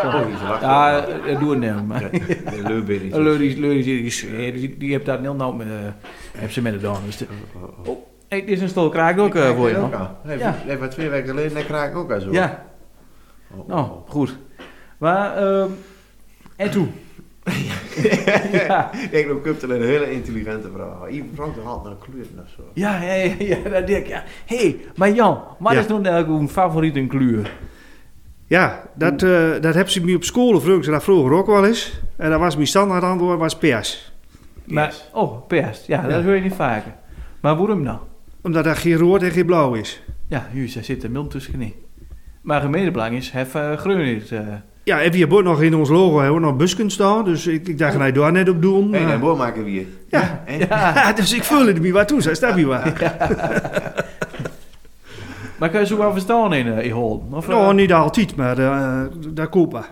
Speaker 4: Oh, die is wakker.
Speaker 3: Ja, eh, doe het nou. maar.
Speaker 4: Ja, de leuberietjes.
Speaker 3: Leurie, Leurie, die, is- eh, die, die hebt dat heel nauw met, eh, heeft ze met de dan. Dus de- oh, hey, dit is een stol kraak ook eh, voor je. man.
Speaker 4: Hij
Speaker 3: Ja.
Speaker 4: heeft- hij heeft twee weken geleden net kraak ook aan zo.
Speaker 3: Ja,
Speaker 4: Oh, oh,
Speaker 3: nou, goed. Maar, ehm en toe. ja.
Speaker 4: oh. Ik denk dat Kuptel een hele intelligente vrouw. Iemand Frank de hand naar kleuren of zo.
Speaker 3: Ja, ja, ja, ja, dat denk ik. Ja. Hé, hey, maar Jan, wat
Speaker 7: Ja.
Speaker 3: is nou eigenlijk uw favoriete kleur?
Speaker 7: Ja, dat, eh, dat hebben ze me op school vroeg, ze dat vroeger ook wel eens. En dat was mijn standaard antwoord, was PS.
Speaker 3: Maar,
Speaker 4: Yes.
Speaker 3: oh, perst. Ja, dat
Speaker 7: Ja.
Speaker 3: hoor je niet vaker. Maar waarom nou?
Speaker 7: Omdat daar geen rood en geen blauw is.
Speaker 3: Ja, juist, daar zit een mil tussenin. Maar gemeentebelang is, hef eh groen in het. eh.
Speaker 7: Ja, en we hebben ook nog in ons logo hebben we nog busken staan. Dus ik, ik dacht, nou, daar net op doen.
Speaker 4: Hé, hey,
Speaker 7: maar-
Speaker 4: dan boor maken we hier.
Speaker 7: ja.
Speaker 4: En,
Speaker 7: Ja, dus ik vul het niet waar toe, zij staat niet waar.
Speaker 3: Maar kan je zo wel verstaan in, eh in Holm? Of, eh,
Speaker 7: Nou, niet altijd, maar eh daar kopen.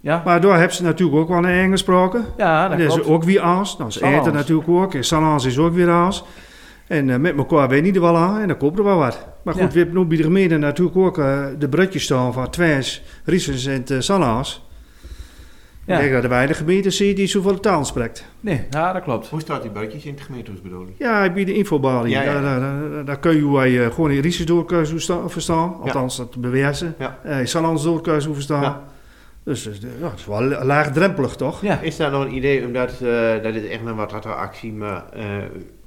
Speaker 3: Ja,
Speaker 7: Maar daar hebben ze natuurlijk ook wel een Engels gesproken.
Speaker 3: ja dat
Speaker 7: Dat is
Speaker 3: klopt.
Speaker 7: ook weer aas. Nou, ze
Speaker 3: Salons.
Speaker 7: eten natuurlijk ook. En Salons is ook weer aas. En eh, met elkaar ben je er wel aan en dan koopt er wel wat. Maar goed,
Speaker 3: Ja.
Speaker 7: we hebben nu bij de gemeente natuurlijk ook eh, de broodjes staan van Twens, Riesens en eh, Salons. Ik denk dat er weinig gemeenten zijn die zoveel taal spreekt.
Speaker 3: Nee, ja, dat klopt.
Speaker 4: Hoe staat die buitjes in het gemeentehuis bedoel ik?
Speaker 7: Ja, ik bied de infobalie.
Speaker 4: Ja, ja.
Speaker 7: Daar, daar, daar, daar kun je hoe hij, eh, gewoon in Riesjes door kun je hoe sta- verstaan. Althans, dat bewijzen.
Speaker 4: Ja.
Speaker 7: Eh, in Sallands door kun je hoe verstaan.
Speaker 4: Ja.
Speaker 7: Dus dus, eh, ja, het is wel laagdrempelig, toch?
Speaker 3: Ja,
Speaker 4: Is daar nog een idee om dat, eh, dat is echt een wat harde actie, maar eh,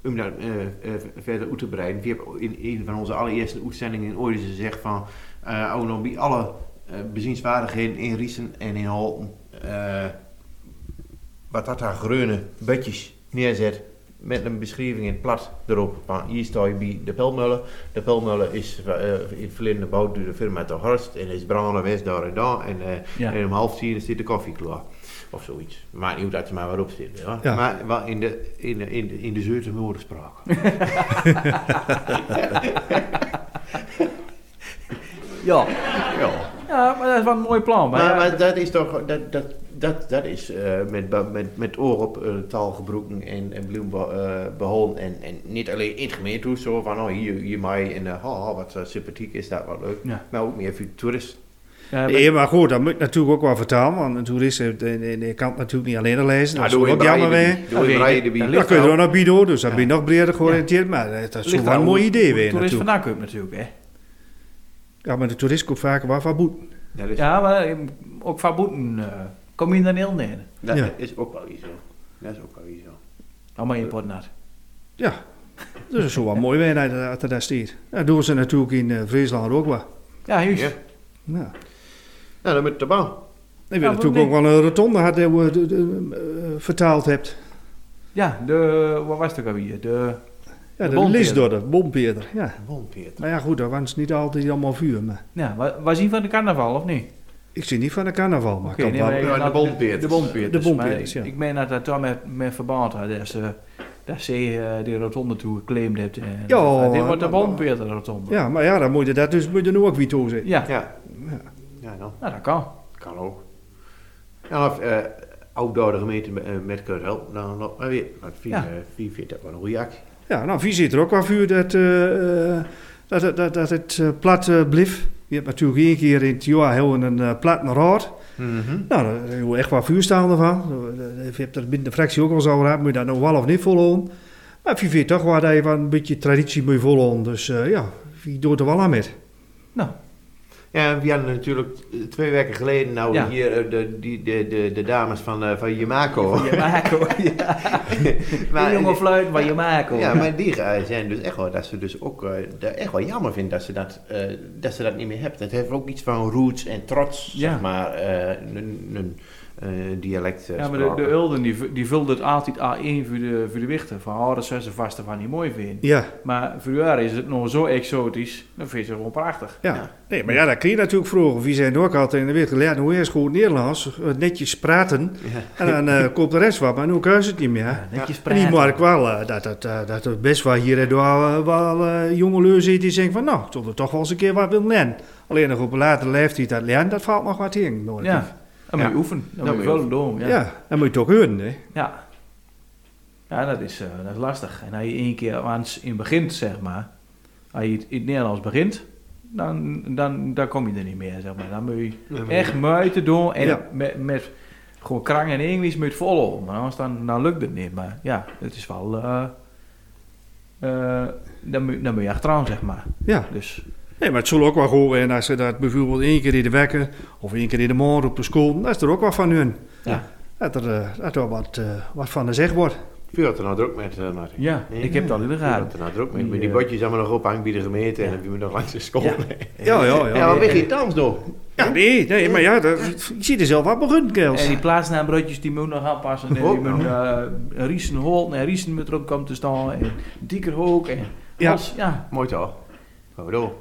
Speaker 4: om dat eh, eh, verder uit te breiden? We hebben in een van onze allereerste uitzendingen ooit eens gezegd van, eh ook nog bij alle eh, bezienswaardigheden in Riesen en in Holten, eh, wat dat daar groene bedjes neerzet met een beschrijving in het plat erop. Van, hier sta je bij de Pelmullen. De Pelmullen is eh, in het verleden gebouwd door de firma De Horst en is branden west daar en daar. En, eh,
Speaker 3: ja.
Speaker 4: en om half tien zit de koffie klaar. Of zoiets. Maar niet hoe dat je maar waarop zit. Ja.
Speaker 7: Ja.
Speaker 4: Maar wel in de, in de, in de, in de Zeurse moederspraak.
Speaker 3: ja.
Speaker 4: ja.
Speaker 3: ja maar dat is wel een mooi plan. Maar,
Speaker 4: Maar,
Speaker 3: ja,
Speaker 4: maar dat is toch... Dat, dat, dat, dat is eh, met, ba- met, met oor op eh, taal gebroken en, en bloem be- eh, behouden. En, en niet alleen in het gemeentehuis. Zo van, oh, hier, hier mij. En eh, oh, wat eh, sympathiek is dat, wat leuk.
Speaker 3: Ja.
Speaker 4: Maar ook meer voor de toerist.
Speaker 3: ja, eh, maar-
Speaker 7: Nee, maar goed, dat moet natuurlijk ook wel vertalen. Want een toerist heeft, eh, nee, nee, kan het natuurlijk niet alleen lezen. Dat is ook jammer weer.
Speaker 4: Ah, Doe
Speaker 3: Oké,
Speaker 4: je rijden
Speaker 3: dat
Speaker 4: bij.
Speaker 7: Dat
Speaker 3: ligt
Speaker 7: kun je
Speaker 3: wel-
Speaker 7: er ook naar bieden hoor, dus dat ben je nog breder georiënteerd. Maar eh, dat is
Speaker 3: ligt
Speaker 7: wel
Speaker 3: daar
Speaker 7: een
Speaker 3: hoe-
Speaker 7: mooi idee
Speaker 3: hoe
Speaker 7: weer
Speaker 3: toerist
Speaker 7: natuurlijk.
Speaker 3: vandaan komt natuurlijk, hè.
Speaker 7: Ja, maar de toerist komt vaak waar van boet.
Speaker 4: Dat is-
Speaker 3: Ja, maar eh, ook van boeten eh, kom je dan heel neer.
Speaker 4: dat
Speaker 7: Ja.
Speaker 4: is ook wel iets zo. Dat is ook wel iets zo.
Speaker 3: Allemaal in potnat.
Speaker 7: Ja, dus dat is wel wel mooi weer dat dat daar staat. Dat doen ze natuurlijk in eh, Friesland ook wel.
Speaker 3: Ja, juist.
Speaker 4: Ja.
Speaker 7: Ja.
Speaker 4: Nou, dan moet de baan.
Speaker 7: Ik
Speaker 3: Ja,
Speaker 7: wil natuurlijk ook
Speaker 3: waarom
Speaker 7: wel een rotonde had, eh, hoe, eh, eh, eh, vertaald hebt.
Speaker 3: Ja, de, wat was het ook alweer? De,
Speaker 7: Ja,
Speaker 3: De
Speaker 7: de
Speaker 3: bompeerder.
Speaker 7: Lisdorder, bompeerder. Ja.
Speaker 4: Wonpeert.
Speaker 7: Maar ja, goed, dat waren ze niet altijd allemaal vuur. Maar
Speaker 3: ja, wa- was hij van de carnaval of niet?
Speaker 7: ik zie niet van de carnaval, maar
Speaker 3: Oké,
Speaker 7: kan
Speaker 3: nee,
Speaker 7: wel.
Speaker 3: maar ik
Speaker 4: Ja, de
Speaker 3: had-
Speaker 4: bompeerters.
Speaker 3: De bompeerters.
Speaker 7: De bompeerters,
Speaker 3: Maar
Speaker 7: ja.
Speaker 3: Ik meen dat dat daar met, met verband had. Dat ze, dat ze eh, die rotonde toe geclaimd hebt. En, Ah, dit
Speaker 7: Ja,
Speaker 3: wordt de
Speaker 4: maar- maar-
Speaker 3: bompeerter rotonde.
Speaker 7: Ja, maar ja, dan moet je dat dus moet je nu ook weer toe zijn.
Speaker 3: Ja,
Speaker 4: Ja. Ja, dan.
Speaker 3: nou, dat kan.
Speaker 4: Kan ook. Ja, of eh outdoor de gemeente met, eh, met kunnen helpen. Dan nog maar weer. Wat vind,
Speaker 3: Ja.
Speaker 4: eh, vind je dat wel een goede actie?
Speaker 7: Ja, nou, wie ziet er ook wel vuur dat, eh, eh, dat, dat, dat, dat het eh, plat eh, bleef. Je hebt natuurlijk één keer in het jaar heel een eh, plat naar rood.
Speaker 4: Mhm.
Speaker 7: Nou, daar hebben we echt wel vuur staan ervan. Eh, Je hebt er binnen de fractie ook al zo raad, moet je dat nou wel of niet volhouden. Maar je vindt toch wel dat je wel een beetje traditie moet volhouden. Dus eh, ja, wie doet er wel aan met?
Speaker 3: Nou,
Speaker 4: Ja, en we hadden natuurlijk eh, twee weken geleden nou
Speaker 3: Ja.
Speaker 4: hier eh, de, die, de, de, de dames van, eh van Yamako.
Speaker 3: Van Je maakt hoor. Ja.
Speaker 4: Maar-
Speaker 3: Die jongen fluit van je maakt hoor.
Speaker 4: Ja, maar die eh, zijn dus echt wel dat ze dus ook eh, dat echt wel jammer vinden dat ze dat, eh, dat ze dat niet meer hebben. Het heeft ook iets van roots en trots,
Speaker 3: Ja.
Speaker 4: zeg maar, eh, een, een eh, dialect. eh,
Speaker 3: Ja, maar de,
Speaker 4: spraak.
Speaker 3: de Ulden die, vu- die vulde het altijd A1 voor de, voor de wichten. Van oh, dat zijn ze vast van niet mooi vinden.
Speaker 7: Ja,
Speaker 3: Maar voor haar is het nog zo exotisch. Dan vind je het gewoon prachtig.
Speaker 7: ja.
Speaker 4: Ja.
Speaker 7: Nee, maar ja, dat kun je natuurlijk vroeger. Wie zijn ook altijd in de wereld geleerd. Hoe nou eerst goed Nederlands, eh, netjes praten.
Speaker 4: Ja.
Speaker 7: En dan eh, komt de rest wat, maar nu kun je het niet meer.
Speaker 3: Netjes
Speaker 7: En die
Speaker 3: praten.
Speaker 7: merk wel eh, dat, dat, eh, dat er best wel hier en daar wel, wel eh, jonge lui zit die zeggen van nou, ik zal er toch wel eens een keer wat willen leren. Alleen nog op een latere leeftijd dat leren, dat valt nog wat in. merk ik.
Speaker 3: Ja, dan moet je
Speaker 4: Ja.
Speaker 3: oefenen. Dan
Speaker 4: Dan
Speaker 3: moet je
Speaker 4: moet
Speaker 3: wel doen.
Speaker 7: ja.
Speaker 3: Ja.
Speaker 7: dat moet je toch kunnen. Hè?
Speaker 3: Ja. Ja, dat is, eh, dat is lastig. En als je één keer aan het- in begint, zeg maar. Als je het in het Nederlands begint, dan, dan, dan kom je er niet meer, zeg maar. Dan moet je
Speaker 4: Ja, maar-
Speaker 3: echt moeite doen en
Speaker 7: Ja.
Speaker 3: met, met gewoon krang en Engels moet je het volhouden. Maar anders dan, dan lukt het niet. Maar ja, het is wel... eh eh, dan, moet, dan moet je achteraan, zeg maar.
Speaker 7: Ja,
Speaker 3: Dus
Speaker 7: nee, maar het zal ook wel goed en als ze dat bijvoorbeeld één keer in de wekker of één keer in de morgen op de school, dat is er ook wat van hun.
Speaker 3: Ja.
Speaker 7: Dat er, eh, dat er wat, eh, wat van gezegd wordt.
Speaker 4: Vuur had er nou druk met, eh Martin.
Speaker 3: ja,
Speaker 4: Nee,
Speaker 3: ik heb het al in de
Speaker 4: Ja,
Speaker 3: gaten.
Speaker 4: dat nou druk mee.
Speaker 3: Die,
Speaker 4: Maar die
Speaker 3: eh,
Speaker 4: botjes allemaal nog ophangen bij de gemeente
Speaker 3: Ja.
Speaker 4: en dan hebben we nog langs de school.
Speaker 3: Ja.
Speaker 4: Ja,
Speaker 7: Ja, ja, ja.
Speaker 4: maar weg je dans nog.
Speaker 7: Ja, nee, nee, maar ja, dat, ik zie er zelf wat begun, kerels.
Speaker 3: En die plaatsnaambroodjes die moet nog aanpassen. En
Speaker 4: Oh,
Speaker 3: die moet eh Riesen Holt en Riesen moet erop komen te staan. En Diekerhoek. En
Speaker 7: Ja.
Speaker 3: alles, ja.
Speaker 4: Mooi toch? Gaan we door.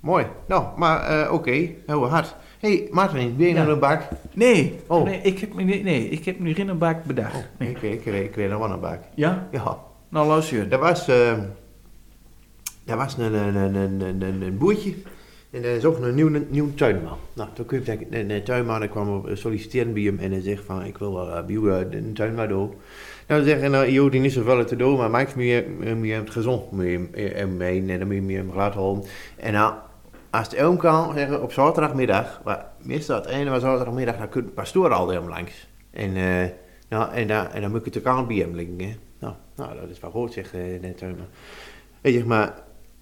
Speaker 4: Mooi. Nou, maar eh, oké. Heel hard. Hé, hey, Martin, ben je
Speaker 3: Ja.
Speaker 4: naar de bak?
Speaker 3: Nee,
Speaker 4: Oh.
Speaker 3: nee, ik heb, me niet- nee, ik heb nu geen bak bedacht. Nee.
Speaker 4: Ik, weet- ik, weet- ik weet nog wel een bak.
Speaker 3: Ja?
Speaker 4: Ja,
Speaker 3: Nou, luister.
Speaker 4: dat was, eh, dat was een, een, een, een, een, een- een boertje. En dat is ook een nieuw, een nieuw tuinman. Nou, toen kwam ik, een, een tuinman, ik kwam op- eh, solliciteren bij hem en hij zegt van, ik wil wel eh, bij jou, eh, een tuinman doen. Nou, dan zeg je, nou, joh, die is zoveel te doen, maar maakt me, me het eh, gezond mee, mee en dan moet je me eh, hem laten houden. En nou, als het om kan, zeggen op zaterdagmiddag, maar meestal het einde van zaterdagmiddag, dan kunt de pastoor al helemaal langs. En, eh, nou, en, daar, en dan moet ik het ook aan bij hem linken. hè. Nou, nou, dat is wel goed, zegt eh, net. eh, Maar. Weet je, maar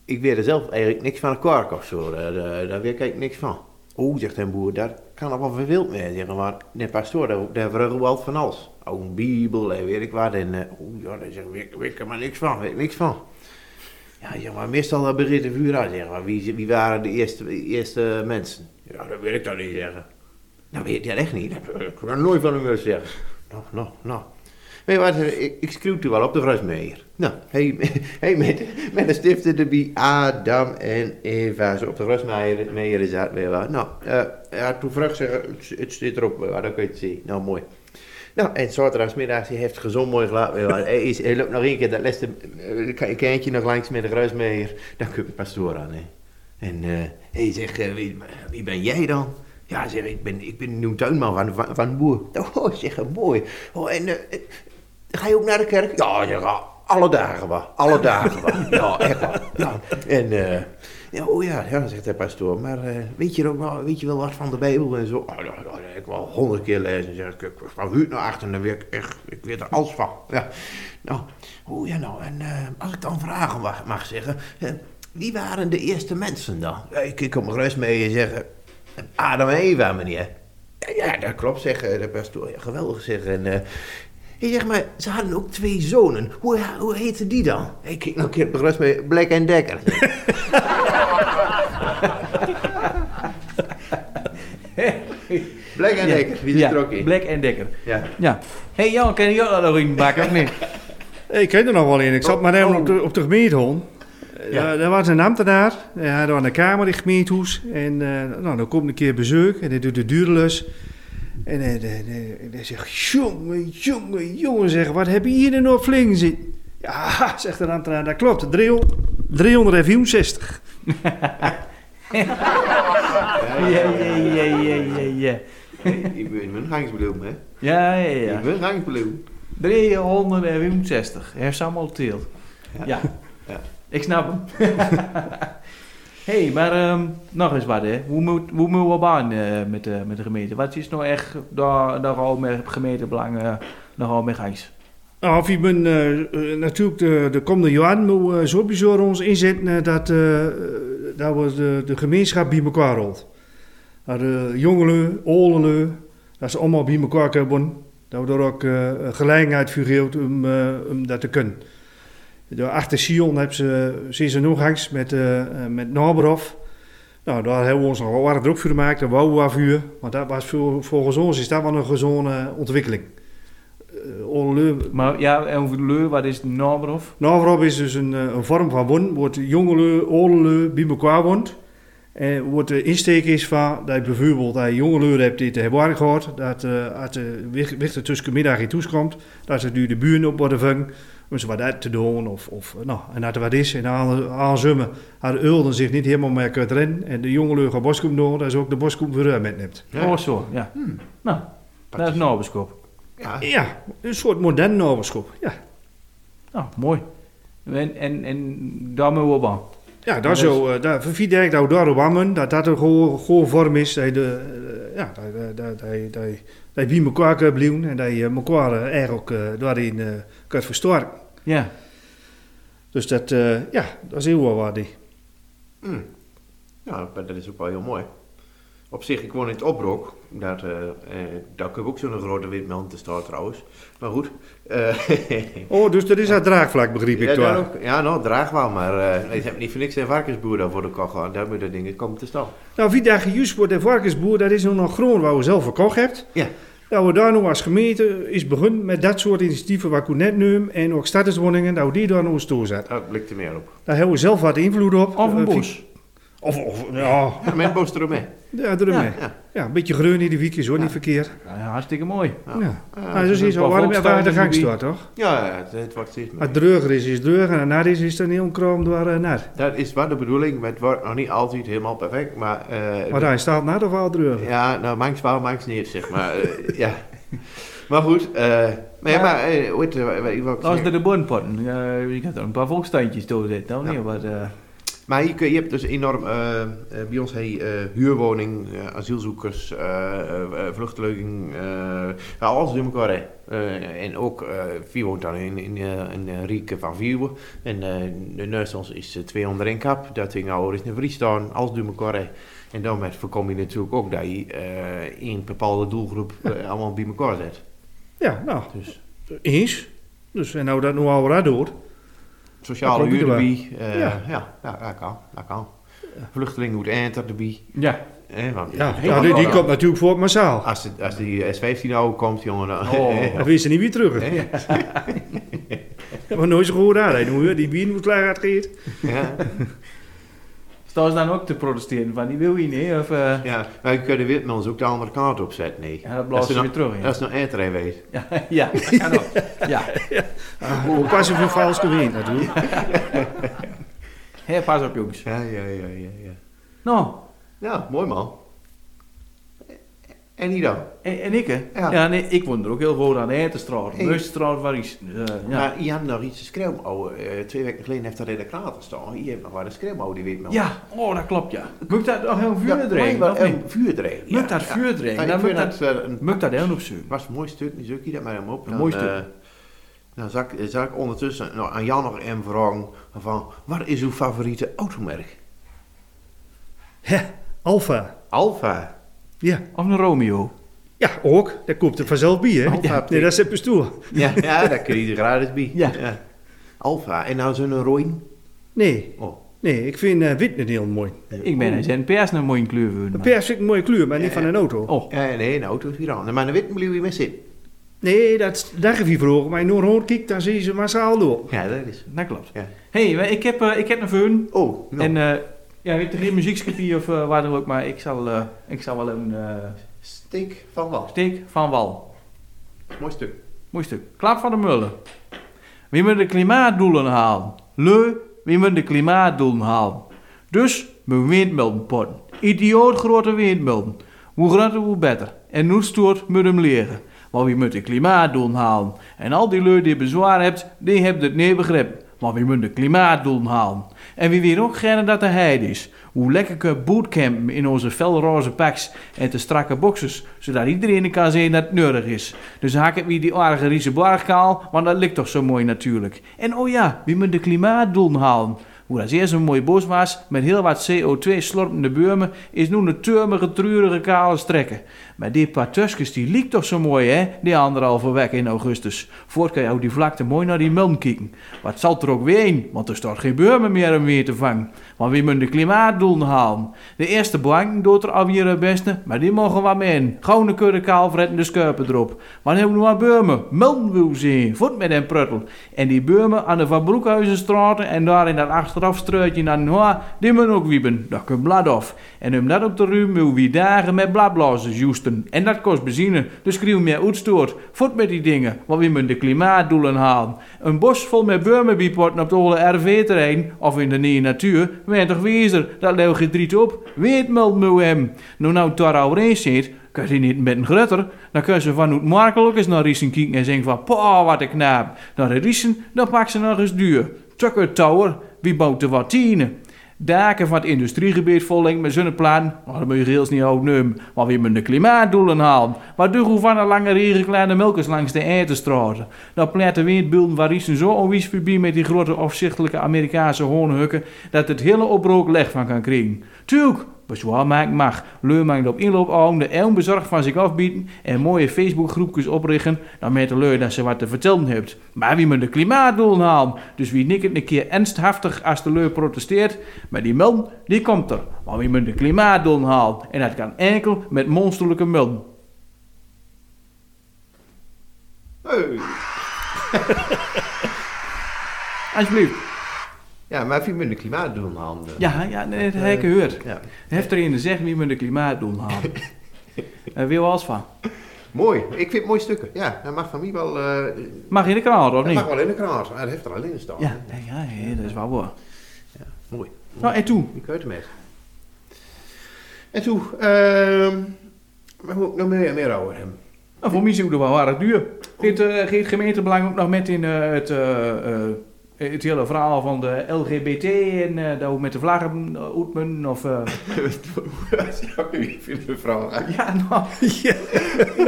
Speaker 4: ik weet er zelf eigenlijk niks van een kwark of zo. Daar, eh, daar, daar weet ik eigenlijk niks van. Oh, zegt een boer, daar kan nog wel verwild mee. Zeg maar, de pastoor, daar, daar vragen we altijd van alles. Ook een Bijbel en weet ik wat. En, eh, oh ja, daar zeg ik, weet- weet ik er maar niks van, weet ik niks van. Ja, ja, maar meestal eh, begint een vuur uit, zeg maar. Wie, wie waren de eerste, eerste mensen? Ja, dat wil ik dan niet zeggen. Nou, weet je dat echt niet. Dat heb ik nooit van hem willen zeggen. Nou, nou, nou. Weet je wat, ik, ik schreeuwde wel op de Vrasmeijer. Nou, hey, hey, met, met de stiften erbij, Adam en Eva, zo op de Vrasmeijer Meijer zat, weet je wat. Nou, eh, ja, toen vroeg ze, het, het zit erop, weet je wat, dan kun je het zien. Nou, mooi. Nou, en zaterdagmiddag, hij heeft gezond mooi gelaten. weet je wel. Hij, is, hij loopt nog één keer dat laatste eh, kindje nog langs met de Vrasmeijer. Dan kun je de pastoor aan, hè. En eh, hij zegt, eh, wie, wie ben jij dan? Ja, zeg, ik ben, ik ben een tuinman van, van, van een boer. Oh, zeg, mooi. Oh, en eh, eh, ga je ook naar de kerk? Ja, zeg, ah, alle dagen wel. Alle dagen wel. Ja, echt wel. Ja. En, eh, ja, oh ja, ja, zegt de pastoor. Maar eh, weet, je er ook wel, weet je wel wat van de Bijbel en zo? Oh, ja, ja, ja, ik wel honderd keer lezen. Zeg, ik, ik was van huid naar achter en dan weet ik echt, ik weet er alles van. Ja. Nou, oh ja, nou, en eh, als ik dan vragen mag, mag zeggen... eh, wie waren de eerste mensen dan? Ja, Ik, ik kom rust mee en zeggen... Adam en Eva, meneer. Ja, ja, dat klopt, zeg eh, de pastoor. Ja, geweldig, zeg. En, eh, hij zegt, maar ze hadden ook twee zonen. Hoe, hoe heette die dan? Ik kijk nog een keer op de rust mee. Black en Dekker. Black en Dekker, die zit er ook in.
Speaker 3: Black en Dekker.
Speaker 4: Ja.
Speaker 3: Ja. Hé hey Jan, ken je dat nog in bakken of niet?
Speaker 7: Ik ken er nog wel in. Ik zat maar even op de, op de gemeentehon.
Speaker 4: Ja.
Speaker 7: Ja. Daar was een ambtenaar. Ja, daar was een kamer in het gemeentehuis. En eh, nou, dan komt een keer bezoek en hij doet de duurlus. En hij, hij- hij- hij zegt, jongen, jongen, jongen, zeg, wat heb je hier nou op flink zitten? Ja, zegt de ambtenaar, dat klopt, 300 364.
Speaker 3: Ja, ja, ja, ja, ja, ja.
Speaker 4: Ik ben een gangsbloem, hè?
Speaker 3: Ja, ja, ja.
Speaker 4: Ik ben een gangsbloem.
Speaker 3: 360. Hersammelteelt. Ja. ja.
Speaker 4: Ja.
Speaker 3: Ik snap hem. Hé, hey, maar ehm, nog eens wat, hè. Hoe moet, hoe moet we op aan eh, met, de- met de gemeente? Wat is nou echt daar, daar al met gemeentebelang eh nogal mee gijs?
Speaker 7: Nou, of je bent eh, eh, natuurlijk de, de komende jaren moet eh, sowieso ons inzetten eh, dat, eh, eh, dat we de, de gemeenschap bij elkaar rolt. Dat de jongeren, ouderen, dat ze allemaal bij elkaar komen. Dat we er ook eh, gelegenheid voor geven om, eh, om dat te kunnen. Door achter Sion hebben ze, zijn ze nog hangs met, eh eh, met Naberhof. Nou, daar hebben we ons nog wel erg druk voor gemaakt. Daar wouden we wat voor. Want dat was voor, volgens ons is dat wel een gezonde ontwikkeling. Eh, ouderen
Speaker 3: Maar ja, en over de leur, wat is de naam of?
Speaker 7: Navrab is dus een, eh, een vorm van wonen, wordt jongeren, ouderen bij elkaar woont. En wat de insteek is van dat je bijvoorbeeld dat je jongeren hebt die te hebben gehad, dat eh als de wicht- wichter tussen middag in toeskomt, dat ze nu de buren op worden vangen om ze wat uit te doen. Of, of, eh, nou, en dat er wat is, en aan, aan zummen, haar ulden zich niet helemaal meer kunt rennen en de jongeren gaan boskoem doen, dat ze ook de boskoem voor haar metneemt.
Speaker 4: Ja.
Speaker 3: Oh, zo, ja. Nou, dat is Naberskop.
Speaker 4: Ja.
Speaker 7: Ja, een soort modern naberschap. Ja,
Speaker 3: Nou, mooi. En, en, en daar moeten we op aan.
Speaker 7: Ja, dat zo. eh, daar verviel ik dat we daarop aan dat dat een goede goede vorm is. Dat je, de, eh, ja, dat, dat, dat, dat, dat, dat je bij elkaar kunt blijven en dat je elkaar eh, eigenlijk eh, daarin eh, kunt versterken.
Speaker 3: Ja.
Speaker 7: Dus dat, eh, ja, dat is heel wel wat. die.
Speaker 4: Hmm. Ja, maar dat is ook wel heel mooi. Op zich, ik woon in het Oprok. Daar, eh eh, daar kun je ook zo'n grote witman te staan trouwens. Maar goed. eh,
Speaker 7: Oh, dus dat is dat draagvlak, begreep ik.
Speaker 4: ja,
Speaker 7: daar.
Speaker 4: daar ook. ja, nou, draag wel, maar eh ik heb niet voor niks een varkensboer daar voor de kachel. Daar moet dat ding komen te staan.
Speaker 7: Nou, wie daar gejuist wordt, de varkensboer, dat is nog nog groen waar we zelf verkocht hebt.
Speaker 4: Ja.
Speaker 7: Dat we daar nu als gemeente is begonnen met dat soort initiatieven waar ik u net noem. En ook starterswoningen, dat we die daar nog eens toe zetten.
Speaker 4: Daar blikt er meer op.
Speaker 7: Daar hebben we zelf wat invloed op.
Speaker 3: Of een
Speaker 7: Eh,
Speaker 3: bos.
Speaker 7: Of, of ja,
Speaker 4: Ja, met bos eromheen.
Speaker 7: Ja, daarom.
Speaker 3: Ja,
Speaker 7: Ja,
Speaker 4: ja.
Speaker 7: een beetje groen in de week is hoor, niet verkeerd.
Speaker 3: Ja, hartstikke mooi.
Speaker 7: Ja.
Speaker 4: Ja.
Speaker 7: nou, zo zie je
Speaker 3: een
Speaker 7: zo warm en waar de
Speaker 3: bevolkingstuin
Speaker 7: gang
Speaker 3: in de
Speaker 7: staat, toch?
Speaker 4: Ja, ja, het, het wordt steeds
Speaker 7: Als
Speaker 4: meer.
Speaker 7: het dreuger is, is het dreuger. En naar is, is dan heel krom door eh, naar.
Speaker 4: Dat is wel de bedoeling, maar het wordt nog niet altijd helemaal perfect. Maar, eh,
Speaker 7: Maar daar staat naar of al dreuger.
Speaker 4: Ja, nou, manks wel, manks niet, zeg maar. Eh, ja. Maar goed, eh maar, ja, maar eh, hoe heet het, eh, wat ik wou
Speaker 3: Als
Speaker 4: zeggen?
Speaker 3: er de boonpotten, eh je kunt er een paar volkstuintjes door zitten, dan
Speaker 4: Ja.
Speaker 3: niet? Wat, eh,
Speaker 4: Maar je, kun- je hebt dus enorm, eh, eh, bij ons hey, eh, huurwoning, eh, asielzoekers, eh, eh, eh, vluchtelingen, eh, nou, alles door elkaar. hè. Eh, en ook, eh wie woont dan in, in, eh, in eh, Rieke van Vuwen. En eh de naast ons is eh, 200 in kap, dat ding ouder is in Friesland, alles door elkaar. hè. En daarmee voorkom je natuurlijk ook dat je eh in een bepaalde doelgroep eh, allemaal bij elkaar zet.
Speaker 7: Ja, nou,
Speaker 4: Dus
Speaker 7: eens. Dus en nou dat nou al raar door.
Speaker 4: sociale
Speaker 7: Dat klopt
Speaker 4: huur
Speaker 7: wel.
Speaker 4: erbij, eh,
Speaker 7: Ja.
Speaker 4: ja. Ja, dat kan, dat kan. Vluchtelingen moet enter erbij.
Speaker 3: Ja,
Speaker 4: Eh, want
Speaker 7: Ja,
Speaker 4: Heel
Speaker 7: nou, die, die
Speaker 4: wat-
Speaker 7: komt natuurlijk voor massaal.
Speaker 4: Als, het, als die S15 nou komt, jongen, dan...
Speaker 3: Oh.
Speaker 7: Dan wist ze niet weer terug.
Speaker 4: Eh, eh,
Speaker 7: Ja, maar nooit zo goed aan. hè. Hoe je Die bier moet klaar gaat geëerd.
Speaker 4: ja,
Speaker 3: staan ze dan ook te protesteren van die wil je niet? Of, eh,
Speaker 4: ja, maar je kunt de witmans ook de andere kant opzetten, nee.
Speaker 3: ja, dat
Speaker 4: Als
Speaker 3: blazen ze
Speaker 4: nou-
Speaker 3: weer terug in.
Speaker 4: Als het nou eter weet.
Speaker 3: ja, dat kan ook. Ja,
Speaker 7: Hoe pas je voor vals te winnen natuurlijk.
Speaker 3: Hé, pas op jongens.
Speaker 4: Ja, ja, ja, ja, ja.
Speaker 3: Nou,
Speaker 4: Ja, mooi man. En hier dan?
Speaker 3: en, en ik hè? Ja,
Speaker 4: Ja.
Speaker 3: nee, ik woon er ook heel goed aan Eitenstraat,
Speaker 4: Hey.
Speaker 3: Meusterstraat, waar is... eh, ja.
Speaker 4: Maar je had nog iets te schreeuwen. Oh, eh, twee weken geleden heeft er in de krater gestaan. Hier heeft nog waar de schreeuwen, oh, die witmans.
Speaker 3: ja, oh dat klopt ja. Moet ik daar nog heel vuur
Speaker 4: Ja,
Speaker 3: drinken?
Speaker 4: maar
Speaker 3: of
Speaker 4: wel
Speaker 3: niet?
Speaker 4: een vuurdreven.
Speaker 3: Moet dat vuur drinken?
Speaker 4: Ja, ik
Speaker 3: Dan
Speaker 4: vind
Speaker 3: moet dat-
Speaker 4: dat, eh, een-
Speaker 3: Moet ik dat heel opzoeken?
Speaker 4: was een mooi stuk, die zoek je dat maar hem op.
Speaker 3: Een mooi
Speaker 4: Dan,
Speaker 3: stuk.
Speaker 4: eh, dan zag ik, zag ik ondertussen nou, aan Jan nog en vragen van, wat is uw favoriete automerk?
Speaker 7: Hè, Alfa.
Speaker 4: Alfa.
Speaker 7: Ja.
Speaker 3: Of een Romeo?
Speaker 7: Ja, ook. Daar komt er vanzelf bij, hè?
Speaker 4: Alfa
Speaker 7: Nee,
Speaker 4: betekent-
Speaker 7: dat is het bestuur.
Speaker 4: Ja, ja daar kun je er gratis bij.
Speaker 3: Ja.
Speaker 4: Alfa. En nou zo'n rooien?
Speaker 7: Nee,
Speaker 4: Oh.
Speaker 7: nee. Ik vind eh, wit een heel mooi.
Speaker 3: Ik ben eens een pers naar mooie kleur worden,
Speaker 7: Een
Speaker 3: maar-
Speaker 7: pers vind ik een mooie kleur, maar niet van een auto.
Speaker 3: Oh,
Speaker 4: Ja, nee, een auto is hier aan. Maar de wit blijf je mee zitten.
Speaker 7: Nee, dat daar geef je vroeg. Maar in Noord-Hoorn kijkt, dan zie je ze massaal door.
Speaker 4: Ja, dat is.
Speaker 3: dat klopt.
Speaker 4: Ja.
Speaker 3: Hé, hey, ik, heb, eh, ik heb een veun.
Speaker 4: Oh, nou.
Speaker 3: En eh ja, weet je, geen muziekskapie of eh, waar dan ook, maar ik zal, eh, ik zal wel een eh,
Speaker 4: steek van wat?
Speaker 3: steek van wal.
Speaker 4: Mooi stuk.
Speaker 3: Mooi stuk. Klap van de mullen. Wie moet de klimaatdoelen halen? Leu, wie moet de klimaatdoelen halen? Dus mijn windmolen potten. Idioot grote windmolen. Hoe groter, hoe beter. En nu stoort moet hem leren. Maar wie moet de klimaatdoelen halen? En al die lui die bezwaar hebt, die hebben het niet begrepen. Maar wie moet de klimaatdoelen halen? En wie weet ook gerne dat de heide is. Hoe lekker kunnen bootcampen in onze felroze packs en te strakke boxers, zodat iedereen kan zien dat het nodig is. Dus haak ik wie die aardige riezenblaarkaal, want dat ligt toch zo mooi natuurlijk. En oh ja, wie moet de klimaatdoelen halen? Hoe dat eerst een mooi bos was, met heel wat CO2 slorpende bomen, is nu een turmige, treurige, kale strekken. Maar die paar tuskens, die liep toch zo mooi, hè? Die anderhalve week in augustus. Voort kan je ook die vlakte mooi naar die melm kijken. Wat zal er ook weer in, want er staat geen bomen meer om weer te vangen. Maar wie moet de klimaatdoelen halen? De eerste banken doet er alweer het beste, maar die mogen wat mee in. Gauw een kudde kaalvret en de skurpen erop. Maar dan hebben we nog wat bomen, melm wil zien, voet met een pruttel. En die bomen aan de Van Broekhuizenstraat en daar in dat achteraf struitje naar Noa, die moeten ook wieben. Dat kan blad af. En om dat op te ruimen, moet wie dagen met bladblazers juisten. En dat kost benzine, dus schreeuw meer uitstoot. Voort met die dingen, want we moeten de klimaatdoelen halen. Een bos vol met bomen bipotten op het oude RV-terrein, of in de nieuwe natuur, wij toch wezer, dat leeuw gedriet op. Weet meld me hem. Nou nou Tara Oreens zit, kan je niet met een grutter, dan kun ze vanuit Markel ook eens naar Riesen kijken en zeggen van, pa, wat een knaap. Naar de Riesen, dan pak ze nog eens duur. Tucker Tower, wie bouwt de watine? Daken van het industriegebied vollengt met zonneplaten, maar dat moet je rails niet opnemen. Maar we moeten de klimaatdoelen halen. Wat doen we van een lange regen kleine melkers langs de Eitenstraten? Dan pleiten windbulden waar Riesen zo onwijs voorbij met die grote afzichtelijke Amerikaanse hoornhukken, dat het hele oprook leg van kan krijgen. Tuurlijk, bezwaar maken mag. Leur maakt op inloop aan, de elm bezorgd van zich afbieden en mooie Facebookgroepjes oprichten, dan met de leur dat ze wat te vertellen hebt. Maar wie moet de klimaatdoelen halen? Dus wie nikt het een keer ernsthaftig als de leur protesteert, maar die melden, die komt er. Maar wie moet de klimaatdoelen halen? En dat kan enkel met monsterlijke melden.
Speaker 4: Hey.
Speaker 3: Alsjeblieft.
Speaker 4: Ja, maar vind je met de klimaatdoel handen?
Speaker 3: Ja, ja, nee, dat heb ik gehoord.
Speaker 4: ja.
Speaker 3: Heeft er in de zeg wie moet de klimaatdoelen halen? Daar wil als van.
Speaker 4: Mooi. Ik vind het mooie stukken. Ja, dat mag van mij wel... eh
Speaker 3: Mag in de kraan, of
Speaker 4: dat
Speaker 3: niet?
Speaker 4: mag wel in de krater. Hij heeft er alleen staan.
Speaker 3: Ja, ja, ja, dat is wel waar.
Speaker 4: Mooi.
Speaker 3: Nou, en toen?
Speaker 4: Ik uit met. En toen, ehm maar hoe nog meer, meer over hem?
Speaker 3: Nou, voor mij is het wel aardig duur. Geeft, eh, geeft gemeentebelang ook nog met in eh, het, eh, eh, eh, het hele verhaal van de LGBT en eh dat we met de vlaggen eh, oetmen of... eh,
Speaker 4: Ik vind het vrouw.
Speaker 3: ja, nou...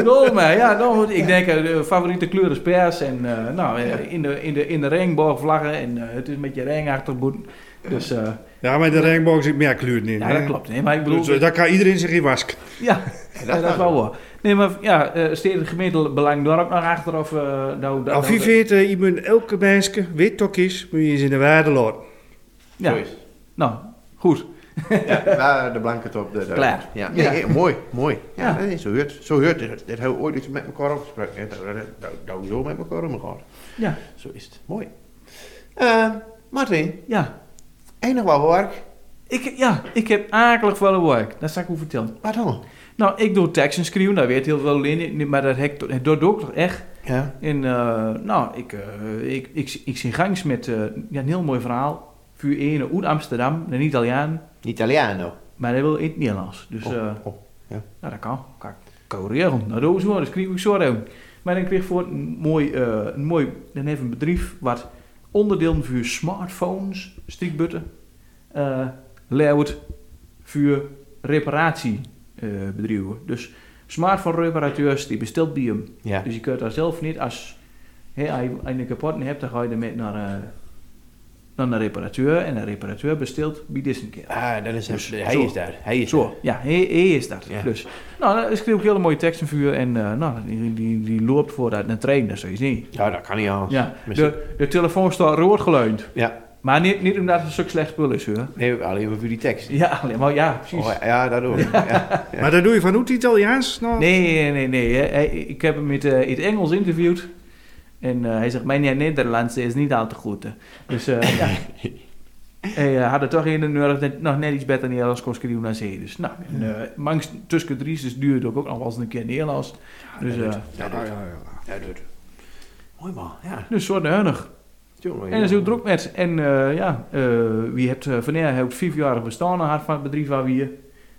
Speaker 3: Lol, maar ja, nou, goed, ik denk eh, de favoriete kleur is pers en eh, nou, eh, in de, in de, in de regenboog vlaggen en eh, het is een beetje regenachtig. boet. Dus eh,
Speaker 7: Ja, maar in de regenboog zit meer kleur in.
Speaker 3: ja,
Speaker 7: hè?
Speaker 3: dat klopt. Nee, maar ik bedoel...
Speaker 7: Dus, eh, daar kan iedereen zich in wasken.
Speaker 3: Ja, ja, dat is wel waar. Nee, maar ja, eh stedelijk gemiddelde belang daar ook nog achter of... eh nou, dat-
Speaker 7: Al
Speaker 3: nou,
Speaker 7: wie
Speaker 3: dat-
Speaker 7: weet, eh, je moet elke meisje, weet toch is, moet je eens in de waarde laten.
Speaker 3: Ja, nou, goed.
Speaker 4: Ja, waar de blanke top. De, de-
Speaker 3: Klaar.
Speaker 4: Ja. Nee,
Speaker 3: Ja.
Speaker 4: nee, mooi, mooi. Ja,
Speaker 3: Ja.
Speaker 4: nee, zo heurt Zo heurt het. Dat hebben we ooit eens met elkaar afgesproken. En dat- dat- dat- Dat we zo met elkaar omgaan.
Speaker 3: Ja,
Speaker 4: Zo is het. Mooi. Eh, Martin,
Speaker 3: ja.
Speaker 4: enig wel werk.
Speaker 3: Ik, ja, ik heb akelig wel een werk. Dat zal ik u vertellen.
Speaker 4: Wat dan?
Speaker 3: Nou, ik doe tekst en schrijven. Dat weet heel veel in. Maar dat, heb ik to- dat doe ik toch echt.
Speaker 4: Ja.
Speaker 3: En eh, nou, ik, eh ik, ik, ik zing gangs met eh, ja, een heel mooi verhaal. Vuur ene uit Amsterdam, een Italiaan.
Speaker 4: Italiano.
Speaker 3: Maar hij wil in het Nederlands. Dus eh,
Speaker 4: Oh, oh.
Speaker 3: Nou, dat kan. Kan ik- kan ik regelen. Nou, dat is wel. Dat schrijf ik zo doen. Maar dan kreeg ik voor een mooi, eh, een mooi dan heeft een bedrijf wat onderdelen voor smartphones, strikbutten, eh layout voor reparatiebedrijven. eh, bedrijven. dus smartphone reparateurs die bestelt bij hem.
Speaker 4: Ja.
Speaker 3: Dus je kunt daar zelf niet als, hè, als je een kapot hebt, dan ga je ermee naar, eh, naar een reparateur en een reparateur bestelt bij deze keer.
Speaker 4: Ah, dat is hem. Hij
Speaker 3: zo.
Speaker 4: is daar. Hij is
Speaker 3: Zo, ja, hij, hij is dat.
Speaker 4: Ja.
Speaker 3: Dus, nou, dan schreef ik hele mooie teksten voor en eh, nou, die, die, die loopt vooruit een trein, dat zou je zien.
Speaker 4: daar. Ja, dat kan niet anders.
Speaker 3: Ja,
Speaker 4: Misschien-
Speaker 3: de, de telefoon staat rood geleund.
Speaker 4: Ja.
Speaker 3: Maar niet, niet omdat het een stuk slecht spul is, hoor.
Speaker 4: Nee, alleen maar voor die tekst.
Speaker 3: Ja, alleen maar ja, precies.
Speaker 4: Oh, ja, dat doen we. Ja.
Speaker 7: Maar dat doe je vanuit Italiaans? Nou,
Speaker 3: Nee, nee, nee. hè. Hij- Ik heb hem in het, eh, in het Engels interviewd. En eh, hij zegt, mijn Nederlands is niet al te goed. hè." Dus eh, ja. Hij eh, had het toch in de nodig dat nog net iets beter Nederlands kon schrijven dan zij. Dus nou, en, eh, mangs tussen drie, dus duurde ook nog wel eens een keer Nederlands. Dus, eh
Speaker 4: Dat doet. Dat doet. Mooi man. Ja.
Speaker 3: dus zo neunig.
Speaker 4: Jongen,
Speaker 3: En dat is
Speaker 4: jongen.
Speaker 3: ook druk met. En eh, ja, eh wie hebt uh, van haar ook vijfjarig bestaan gehad van het bedrijf waar we hier.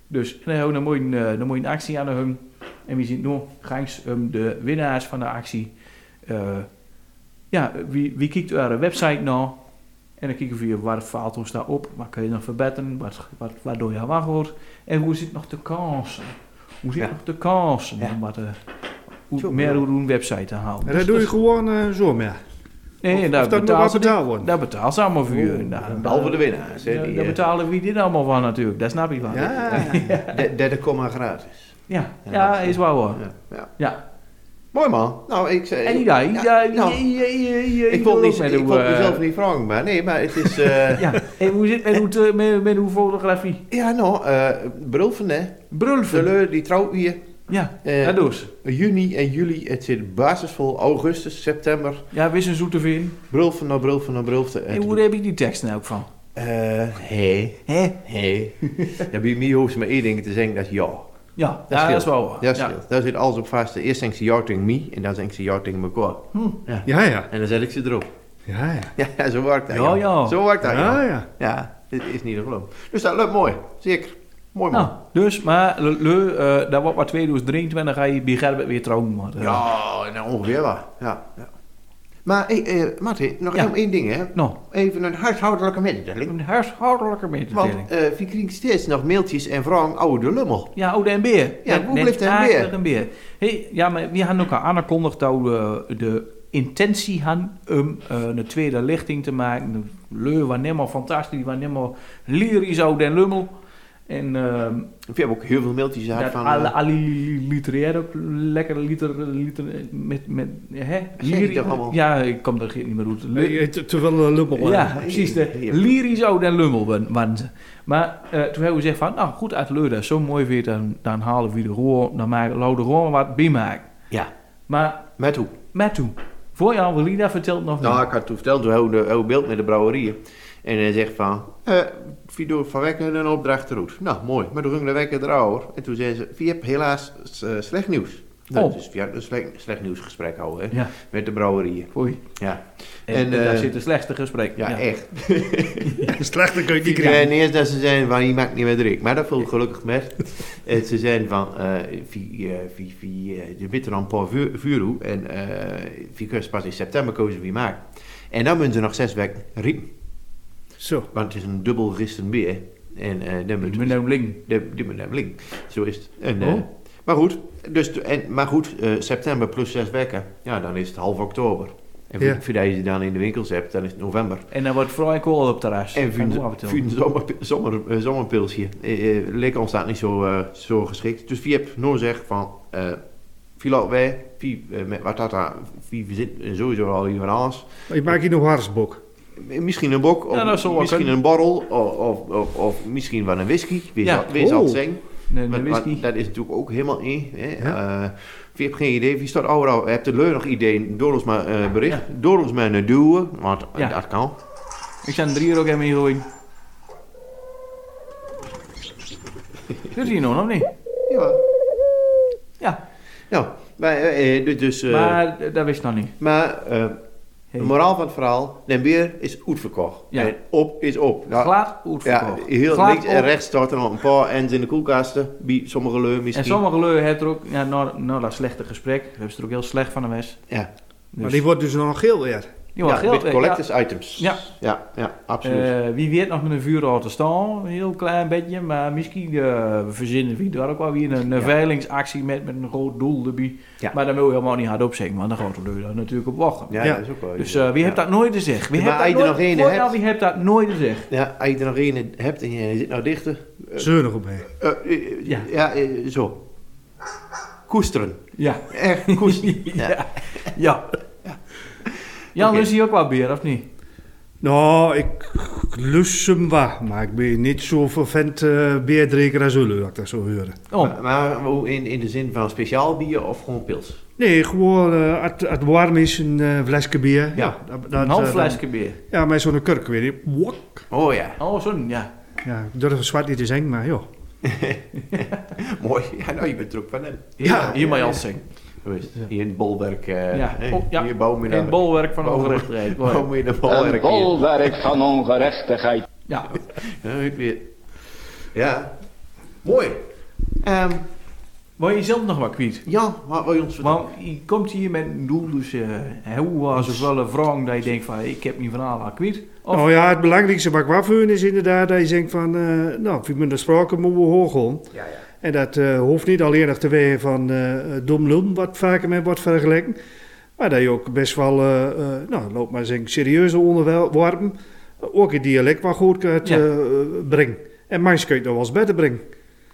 Speaker 3: Dus dan hebben we een mooie, eh, een mooie actie aan hem. En wie ziet nou, gangs hem de winnaars van de actie. Eh, ja, wie, wie kijkt de website nou? En dan kijken we waar faalt ons daar op, wat kun je nog verbeteren, wat, wat, waardoor je wacht wordt. En hoe zit nog de kansen? Hoe zit
Speaker 4: Ja.
Speaker 3: nog de kansen?
Speaker 4: Ja.
Speaker 3: om Wat, eh, hoe-
Speaker 4: Zo,
Speaker 3: meer
Speaker 4: ja.
Speaker 3: hoe een website te halen.
Speaker 7: En
Speaker 3: Dus
Speaker 7: dat doe je
Speaker 3: is-
Speaker 7: gewoon eh, zo, maar.
Speaker 3: Nee,
Speaker 7: of
Speaker 3: daar
Speaker 7: dat moet
Speaker 3: betaalt
Speaker 7: wel
Speaker 3: ze
Speaker 7: betaald
Speaker 3: niet-
Speaker 7: worden.
Speaker 3: Daar betaalt ze allemaal voor.
Speaker 7: Oh,
Speaker 3: je. Nou,
Speaker 4: Behalve de
Speaker 3: daar-
Speaker 4: winnaars. hè,
Speaker 3: daar-
Speaker 4: die,
Speaker 3: Daar
Speaker 4: eh, Ah,
Speaker 3: betalen wie dit allemaal van natuurlijk, daar snap ik van. Ja,
Speaker 7: Ja.
Speaker 4: de- Derde komma gratis.
Speaker 3: ja,
Speaker 4: Ja, dat is-
Speaker 3: is waar hoor.
Speaker 4: Ja. ja.
Speaker 3: Ja.
Speaker 4: Mooi man. Nou, ik zei...
Speaker 3: En ja, ja, ja,
Speaker 4: nou,
Speaker 3: ja, ja, ja,
Speaker 4: ik wil
Speaker 3: wil
Speaker 4: niet,
Speaker 3: ook met
Speaker 4: ik
Speaker 3: hoe,
Speaker 4: wil
Speaker 3: eh,
Speaker 4: mezelf niet vragen, maar nee, maar het is... eh, ja.
Speaker 3: Ja, en hoe zit het met, hoe te- met, met hoe fotografie?
Speaker 4: nou, eh brulven hè.
Speaker 3: Brulven.
Speaker 4: Teleur, die trouwt hier.
Speaker 3: Ja,
Speaker 4: Eh,
Speaker 3: dat dus.
Speaker 4: Juni en juli, het zit basisvol. Augustus, september.
Speaker 3: Ja, wist een zoete vin.
Speaker 4: Brulven naar brulven naar brulven.
Speaker 3: En hoe heb ik die tekst nou ook van?
Speaker 4: Hé.
Speaker 3: Hé?
Speaker 4: Hé. Eh, Ja, bij mij hoeft ze maar één ding te zeggen, dat is ja.
Speaker 3: Ja,
Speaker 4: Dat
Speaker 3: ja, dat
Speaker 4: scheelt.
Speaker 3: is wel waar.
Speaker 4: Ja, scheelt. Daar zit alles op vast. Eerst denk ze ja tegen mij en dan denk ze ja tegen elkaar.
Speaker 3: Hm.
Speaker 7: Ja, ja.
Speaker 4: En dan zet ik ze erop.
Speaker 7: Ja, ja.
Speaker 4: Ja, ja, zo werkt dat.
Speaker 3: Ja, Ah, ja.
Speaker 4: Zo werkt dat,
Speaker 7: Ja,
Speaker 4: ja.
Speaker 7: ja.
Speaker 4: Ja, dit is niet te geloven. Dus dat lukt mooi. Zeker. Mooi man.
Speaker 3: Nou, dus, maar, le, le, eh, dat wordt maar 2023, dan ga je bij Gerbert weer trouwen. Maar, eh,
Speaker 4: Ja, nou ongeveer waar. Ja. ja. Maar hey, eh Martin, nog
Speaker 3: Ja.
Speaker 4: even één ding hè.
Speaker 3: Nou,
Speaker 4: Even een huishoudelijke mededeling.
Speaker 3: een huishoudelijke mededeling.
Speaker 4: Want eh we krijgen steeds nog mailtjes en vragen oude lummel.
Speaker 3: Ja, oh, oude en beer.
Speaker 4: Ja, hoe blijft de
Speaker 3: taak
Speaker 4: beer?
Speaker 3: er een beer? Hey, ja, maar we hadden ook al aangekondigd dat we eh, de intentie hadden om eh, een tweede lichting te maken. Leu, was helemaal fantastisch, was helemaal lyrisch, oude en lummel. En ehm,
Speaker 4: We hebben ook heel veel mailtjes gehad
Speaker 3: dat
Speaker 4: van...
Speaker 3: alle,
Speaker 4: eh,
Speaker 3: alle literair ook lekker liter, liter met, met hè?
Speaker 4: Zeg je toch allemaal?
Speaker 3: Ja, ik kom er niet meer uit. Ly-
Speaker 7: Eh, te- Terwijl een lummel. eh.
Speaker 3: ja, precies. De
Speaker 4: Ja.
Speaker 3: lyrisch oud en lummel ben- waren ze. Maar eh, toen hebben we gezegd van, nou goed, uit Leuden, zo mooi weer, dan, dan halen we de roer, dan maken we de roer wat bij maken.
Speaker 4: Ja,
Speaker 3: Maar
Speaker 4: met hoe?
Speaker 3: met toen, voor jou, Lida vertelt nog
Speaker 4: Nou,
Speaker 3: niet.
Speaker 4: ik had toen verteld, we houden een beeld met de brouwerieën. En hij zegt van, eh, Vido van Wekken een opdracht eruit. Nou, mooi. Maar toen ging de Wekker erover. En toen zei ze, je hebt helaas eh, slecht nieuws. Nou,
Speaker 3: Oh.
Speaker 4: Dus via een slecht, slecht nieuwsgesprek houden, hè,
Speaker 3: Ja,
Speaker 4: met de brouwerieën.
Speaker 3: foei.
Speaker 4: Ja,
Speaker 3: En,
Speaker 4: En,
Speaker 3: eh, daar
Speaker 4: eh,
Speaker 3: zit de slechtste gesprek.
Speaker 4: ja, echt.
Speaker 7: Slechter kun je niet
Speaker 4: Ik
Speaker 7: krijgen.
Speaker 4: kreeg eerst dat ze zeiden van, je maakt niet meer druk. Maar dat viel gelukkig met. en ze zeiden van, eh, wie, eh, wie, wie, eh, je bent er al een paar vuur, vuur hoe. En eh, wie kun je pas in september kozen wie maakt. En dan moeten ze nog zes weken riepen.
Speaker 7: Zo.
Speaker 4: Want het is een dubbel risten bier. En eh dan
Speaker 3: Ik
Speaker 4: moeten
Speaker 3: ben nou link.
Speaker 4: de, die meneer Blink. Zo is het. En,
Speaker 3: Oh.
Speaker 4: eh, maar goed, dus, de- en, maar goed eh, september plus zes weken. Ja, dan is het half oktober. En
Speaker 7: Ja.
Speaker 4: ja. voordat je die dan in de winkels hebt, dan is het november.
Speaker 3: En dan wordt vrij kool op het terras.
Speaker 4: En
Speaker 3: Kan ik wel
Speaker 4: voor
Speaker 3: vertellen.
Speaker 4: een zomer, zomer, eh, zomerpilsje eh, eh, leek ons dat niet zo, eh, zo geschikt. Dus wie hebt nou zeg van, eh wie laten wij, wie eh, met watata, wie verzint eh, sowieso al hier van alles. Eh,
Speaker 7: Ik maak hier nog hardsbok.
Speaker 4: Misschien een bok, of
Speaker 3: Ja, dat zou wel
Speaker 4: misschien
Speaker 3: kunnen.
Speaker 4: een borrel, of, of, of, of misschien wel een whisky. Wees
Speaker 3: Ja.
Speaker 4: al, wees al
Speaker 7: Oh.
Speaker 4: zeng.
Speaker 3: Nee,
Speaker 4: Maar-
Speaker 3: dat
Speaker 4: maar
Speaker 3: wist niet.
Speaker 4: dat is natuurlijk ook helemaal één. Hè?
Speaker 7: Ja.
Speaker 4: Eh, wie hebt geen idee, wie staat overal? Heb de leur nog ideeën? Door ons maar eh, bericht. Door ons maar een duwen, want eh,
Speaker 3: Ja.
Speaker 4: dat kan.
Speaker 3: Ik zou er hier ook even in gooien. Zit hier nog, of niet?
Speaker 4: Ja.
Speaker 3: Ja,
Speaker 4: Nou, maar, eh, eh, dus, dus, eh, maar,
Speaker 3: maar eh, dat wist nog niet.
Speaker 4: eh,
Speaker 3: Hey.
Speaker 4: de moraal van het verhaal, Den Beer is uitverkocht.
Speaker 3: Ja.
Speaker 4: En op is op. Nou,
Speaker 3: Glad
Speaker 4: ja,
Speaker 3: uitverkocht.
Speaker 4: heel
Speaker 3: Glad
Speaker 4: links en
Speaker 3: op.
Speaker 4: rechts staat er nog een paar ends in de koelkasten. Bij sommige leur misschien.
Speaker 3: En sommige leuren hebben er ook, ja, nou, nou dat slechte gesprek, hebben ze er ook heel slecht van de mes.
Speaker 4: ja,
Speaker 3: Dus,
Speaker 7: Maar die wordt dus nog geel weer.
Speaker 3: die wordt
Speaker 4: ja,
Speaker 3: geld
Speaker 4: met
Speaker 3: weg,
Speaker 4: collectors items.
Speaker 3: Ja.
Speaker 4: Ja, ja absoluut.
Speaker 3: Eh, wie weet nog met een vuurrood te staan, een heel klein beetje, maar misschien eh, verzinnen wie daar ook wel weer een eh, veilingsactie met, met een groot doel erbij.
Speaker 4: Ja.
Speaker 3: Maar dan wil je helemaal niet hard opzeggen, want dan gaat de leur daar natuurlijk op wachten.
Speaker 4: ja,
Speaker 7: ja.
Speaker 4: dat is ook wel.
Speaker 3: Dus eh, wie
Speaker 4: Ja.
Speaker 3: hebt dat nooit gezegd? Wie
Speaker 4: Maar
Speaker 3: hebt
Speaker 4: als je
Speaker 3: dat
Speaker 4: er
Speaker 3: nooit,
Speaker 4: nog één
Speaker 3: Voor
Speaker 4: hebt-
Speaker 3: nou, wie hebt dat nooit gezegd?
Speaker 4: Ja, als je er nog één hebt en je zit nou dichter.
Speaker 7: Zeunig op mij.
Speaker 4: eh, eh,
Speaker 3: Ja.
Speaker 4: ja, eh, zo. Koesteren.
Speaker 3: Ja.
Speaker 4: Echt koesteren.
Speaker 3: ja. ja. Jan
Speaker 4: Oké.
Speaker 3: lust hier ook wel bier, of niet?
Speaker 7: Nou, ik lus hem wel, maar ik ben niet zo vervent eh bierdrinker als jullie, dat ik dat zo horen.
Speaker 3: Oh,
Speaker 4: Maar, maar hoe in, in de zin van speciaal bier of gewoon pils?
Speaker 7: Nee, gewoon eh het, het warm is een eh, flesje bier.
Speaker 4: Ja,
Speaker 7: dat, dat,
Speaker 3: een half
Speaker 7: eh,
Speaker 3: flesje bier.
Speaker 7: dan- ja, met zo'n kurk, weet je. Wok.
Speaker 4: Oh ja,
Speaker 3: Oh, zo'n, ja.
Speaker 7: Ja, ik durf het zwart niet te zeggen, maar joh.
Speaker 4: mooi. Ja, nou, je bent er ook van hem.
Speaker 3: Hier,
Speaker 7: Ja.
Speaker 3: hier mag je alles zingen.
Speaker 4: Hoe is het? Hier in het bolwerk. eh,
Speaker 3: Ja.
Speaker 4: hè?
Speaker 3: Oh, ja.
Speaker 4: Hier bouwen we
Speaker 3: In het
Speaker 4: dan-
Speaker 3: bolwerk van
Speaker 4: Bouwen-
Speaker 3: ongerechtigheid.
Speaker 4: bouwen we in het
Speaker 5: Een
Speaker 4: bolwerk. hier.
Speaker 5: bolwerk van ongerechtigheid.
Speaker 3: Ja,
Speaker 4: Ja, ik weet. Ja, mooi. Ehm
Speaker 3: word je zelf nog wat kwijt?
Speaker 4: Jan, wat wil je ons vertellen?
Speaker 3: Want je komt hier met een doel, dus eh, hoe was het wel een wrang dat je denkt van, ik heb mijn verhaal al kwijt. Of,
Speaker 7: Nou ja, het belangrijkste wat ik wou voor hun is inderdaad dat je denkt van, eh nou, wie met de sprake moet we hoog gaan.
Speaker 4: Ja, ja.
Speaker 7: En dat eh, hoeft niet alleen nog te wegen van eh dom lul, wat vaker met wordt vergeleken. Maar dat je ook best wel, eh, eh, nou, loop maar eens serieuze onderwerpen. Ook het dialect wat goed kunt
Speaker 3: Ja.
Speaker 7: eh, brengen. En mensen kun je het nog wel eens beter brengen.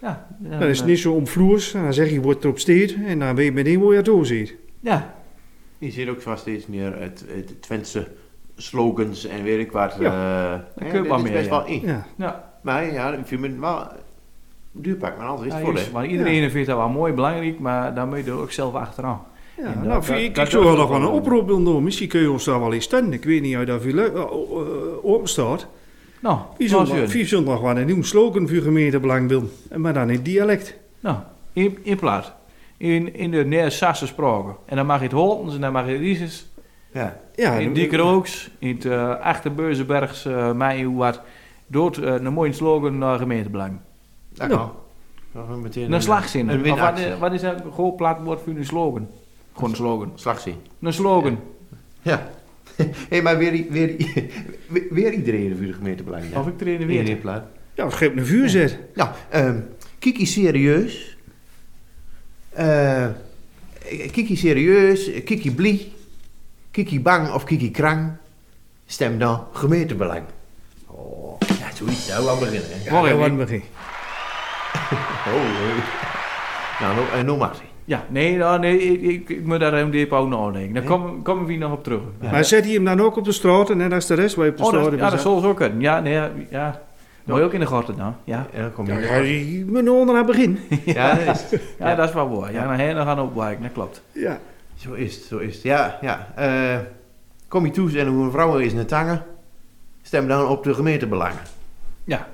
Speaker 3: ja, dan, eh,
Speaker 7: Dan is het niet zo omvloers. En dan zeg je, wordt erop steed. En dan weet je meteen hoe je het doorziet.
Speaker 3: Ja,
Speaker 4: Je ziet ook vast steeds meer het, het Twentse slogans en weet ik wat.
Speaker 7: Ja.
Speaker 4: eh,
Speaker 3: kun
Speaker 4: hè,
Speaker 3: je
Speaker 4: dit
Speaker 3: wel
Speaker 4: is
Speaker 3: meer,
Speaker 4: best
Speaker 3: ja.
Speaker 4: wel in.
Speaker 7: Ja.
Speaker 3: ja.
Speaker 4: Maar ja, ik vind het wel duurpak, maar anders is
Speaker 3: ja,
Speaker 4: het voor
Speaker 3: juist.
Speaker 4: hè.
Speaker 3: want iedereen vindt dat wel mooi belangrijk, maar daar moet je er ook zelf achteraan.
Speaker 7: Ja,
Speaker 3: En
Speaker 7: nou,
Speaker 3: dat-
Speaker 7: vind
Speaker 3: dat-
Speaker 7: ik,
Speaker 3: dat
Speaker 7: ik zou wel
Speaker 3: durf
Speaker 7: nog
Speaker 3: ik
Speaker 7: wel een
Speaker 3: wel.
Speaker 7: oproep willen doen. Misschien kun je ons daar wel eens steunen. Ik weet niet of dat u lu- eh, o- eh, open staat.
Speaker 3: Nou,
Speaker 7: Wie
Speaker 3: nou,
Speaker 7: zullen nog-
Speaker 3: Sjön.
Speaker 7: wie zullen nog wel een nieuw slogan voor gemeentebelang willen. En Maar dan in het dialect.
Speaker 3: Nou, in, in plaats. In, in de Neer-Sasse spraken. En dan mag je het Holtens en dan mag je het Rieses.
Speaker 4: Ja.
Speaker 7: Ja,
Speaker 3: in
Speaker 7: dan-
Speaker 3: Diekerooks, in het uh, Achterbeurzenbergs, eh mij hoe wat. Door eh, een mooie slogan naar gemeentebelang.
Speaker 4: Dat
Speaker 7: Ja.
Speaker 4: kan. Dan gaan we meteen
Speaker 3: Een slagzin.
Speaker 4: Een
Speaker 3: Of wat,
Speaker 4: winactie.
Speaker 3: is- wat is dat een groot platwoord voor een slogan? Gewoon een slogan.
Speaker 4: slagzin.
Speaker 3: Een slogan.
Speaker 4: Ja. Hé, maar weer, weer, weer, weer iedereen voor de gemeente blijven.
Speaker 3: Of ik trainen weer.
Speaker 4: Iedereen plaat.
Speaker 7: Ja, het geeft een vuurzet.
Speaker 4: Nou, ehm, Kiki serieus. Eh, Kiki serieus, Kiki blie. Kiki bang of Kiki krang. Stem dan gemeentebelang. Oh, ja, zoiets zou wel beginnen. Hè?
Speaker 3: Morgen,
Speaker 7: Ja,
Speaker 3: hè?
Speaker 7: wat begin.
Speaker 4: Oh, leuk. Nou, no, eh, no maar.
Speaker 3: Ja, nee, nou, nee ik, ik, ik moet daar even diep over nadenken. Daar komen komen we hier nog op terug.
Speaker 7: Maar zet hij hem dan ook op de straat en net als de rest waar je op de
Speaker 3: Oh,
Speaker 7: straat
Speaker 3: dat, ja, dat
Speaker 7: bent.
Speaker 3: zal ze ook kunnen. Ja, nee, ja. ja. Moet je ook in de gaten dan. Ja.
Speaker 4: En dan kom
Speaker 7: Ja,
Speaker 4: je.
Speaker 7: ja, je moet nou onder naar het begin.
Speaker 4: Ja, dat is het.
Speaker 3: Ja, dat is wel waar. Ja, naar hen gaan opwijken, dat klopt.
Speaker 7: Ja.
Speaker 4: Zo is het, zo is het. Ja, ja. eh, kom je toe en hoe een vrouw is in de tangen. Stem dan op de gemeentebelangen.
Speaker 3: Ja,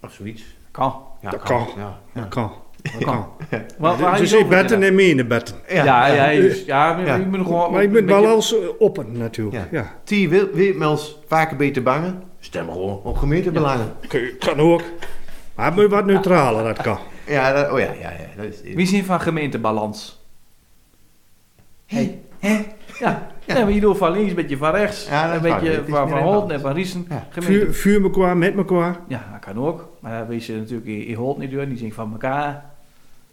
Speaker 4: Of zoiets.
Speaker 3: kan.
Speaker 4: Ja,
Speaker 7: Dat kan.
Speaker 4: Ja.
Speaker 7: Dat kan. Dat kan.
Speaker 3: Wat, waar
Speaker 7: Dus
Speaker 3: je
Speaker 7: je
Speaker 3: over
Speaker 7: bent
Speaker 3: gedaan?
Speaker 7: en mee in de bed.
Speaker 3: Ja, ja, ja, juist. ja,
Speaker 4: Ja.
Speaker 3: ik ben gewoon...
Speaker 7: Maar je
Speaker 3: een
Speaker 7: bent wel
Speaker 3: beetje-
Speaker 7: als eh, oppen natuurlijk.
Speaker 4: Ja.
Speaker 7: Ja.
Speaker 4: T. Wil- Witmels vaker beter bangen. Stem gewoon op gemeentebelangen.
Speaker 7: Kun je- Kan ook. Maar moet je wat neutraler, dat kan.
Speaker 4: Ja, dat, oh ja, ja, ja. Dat is,
Speaker 3: Wie is hier van gemeentebalans?
Speaker 4: Hey.
Speaker 3: Ja,
Speaker 4: Ja.
Speaker 3: Nee, maar je doet van links, een beetje van rechts.
Speaker 4: Ja, dat
Speaker 3: een
Speaker 4: is waar.
Speaker 3: beetje
Speaker 4: Het is
Speaker 3: van,
Speaker 4: meer
Speaker 3: van
Speaker 4: in
Speaker 3: Holt
Speaker 4: balans.
Speaker 3: en van Riesen.
Speaker 4: Ja.
Speaker 3: Gemeente.
Speaker 7: Vuur, vuur mekaar, met mekaar.
Speaker 3: Ja, dat kan ook. Maar dan weet je natuurlijk in, in Holt niet door, die zijn van elkaar.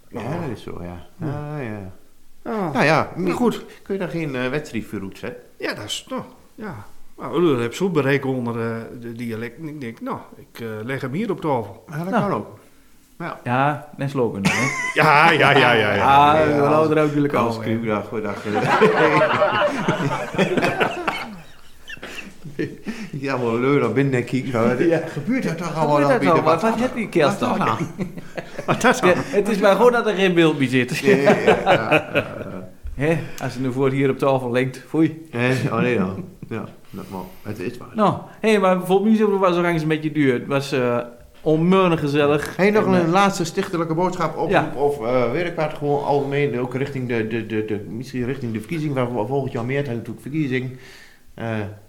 Speaker 4: Ja, dat is zo, ja. Ja, ja.
Speaker 7: Ah,
Speaker 4: Nou ja,
Speaker 7: nou goed.
Speaker 4: kun je daar geen eh, wedstrijd voor roetsen?
Speaker 7: Ja, dat is nou, ja. Nou, dat heb zo bereiken onder eh, de dialect. En ik denk, nou, ik eh, leg hem hier op tafel.
Speaker 4: Ja, Ah, dat
Speaker 3: Nou.
Speaker 4: kan ook.
Speaker 3: Ja, en slogan. dan, Hè?
Speaker 7: Ja, ja, ja, ja. ja.
Speaker 3: Ah, we houden er ook natuurlijk
Speaker 4: Als
Speaker 3: al.
Speaker 4: Kruwdag, we dachten... Ja, wel leuk, dan binnen en kiek. Ja. Gebeurt dat toch allemaal?
Speaker 3: Wat
Speaker 4: dan
Speaker 3: is dat
Speaker 4: binnen?
Speaker 3: nou? Wat wat heb je kerst
Speaker 4: Wat
Speaker 3: dan?
Speaker 4: nou?
Speaker 7: Wat dat
Speaker 3: Ja,
Speaker 7: dan?
Speaker 3: Het is maar goed dat er geen beeld bij zit.
Speaker 4: Ja, ja, ja.
Speaker 3: Hè? Als het nu voor hier op tafel linkt, foei.
Speaker 4: Eh, Oh nee dan. Ja, dat mag. Het is waar.
Speaker 3: Nou, hé, maar voor muziek was Oranje een beetje duur. Het was eh onmeunig gezellig.
Speaker 4: Heb je nog
Speaker 3: En, eh,
Speaker 4: een laatste stichtelijke boodschap op,
Speaker 3: Ja.
Speaker 4: of eh werkbaar gewoon algemeen, ook richting de, de, de, de, misschien richting de verkiezing, waar we volgend jaar meer zijn natuurlijk verkiezing. Eh,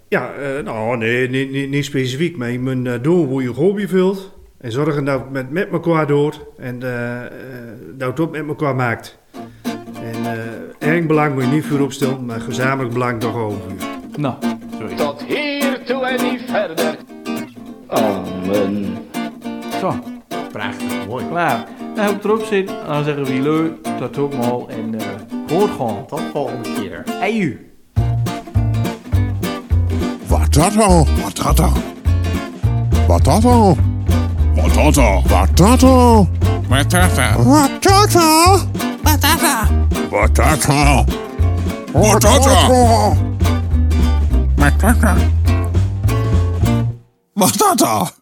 Speaker 7: Ja, eh, nou, nee, niet, niet, niet specifiek. Maar je moet eh, doen hoe je hobby vult. En zorgen dat het met, met elkaar doet. En eh, eh, dat het ook met elkaar maakt. En eh erg belang moet je niet voor opstellen, maar gezamenlijk belang toch overvuur.
Speaker 3: Nou,
Speaker 4: sorry.
Speaker 5: Tot hier toe en niet verder. Amen.
Speaker 3: zo,
Speaker 4: Prachtig, mooi.
Speaker 3: klaar. Nou, heb ik erop zit, dan zeggen we leuk, tot ook mal en eh hoort gewoon.
Speaker 4: Tot volgende keer.
Speaker 3: Hey, u.
Speaker 1: Wat dat al?
Speaker 2: Patata.
Speaker 1: Wat dat al?
Speaker 2: Patata.
Speaker 1: Wat dat al?
Speaker 2: Patata.
Speaker 1: Wat dat al? Wat dat al? Wat dat al?
Speaker 2: Patata. Patata.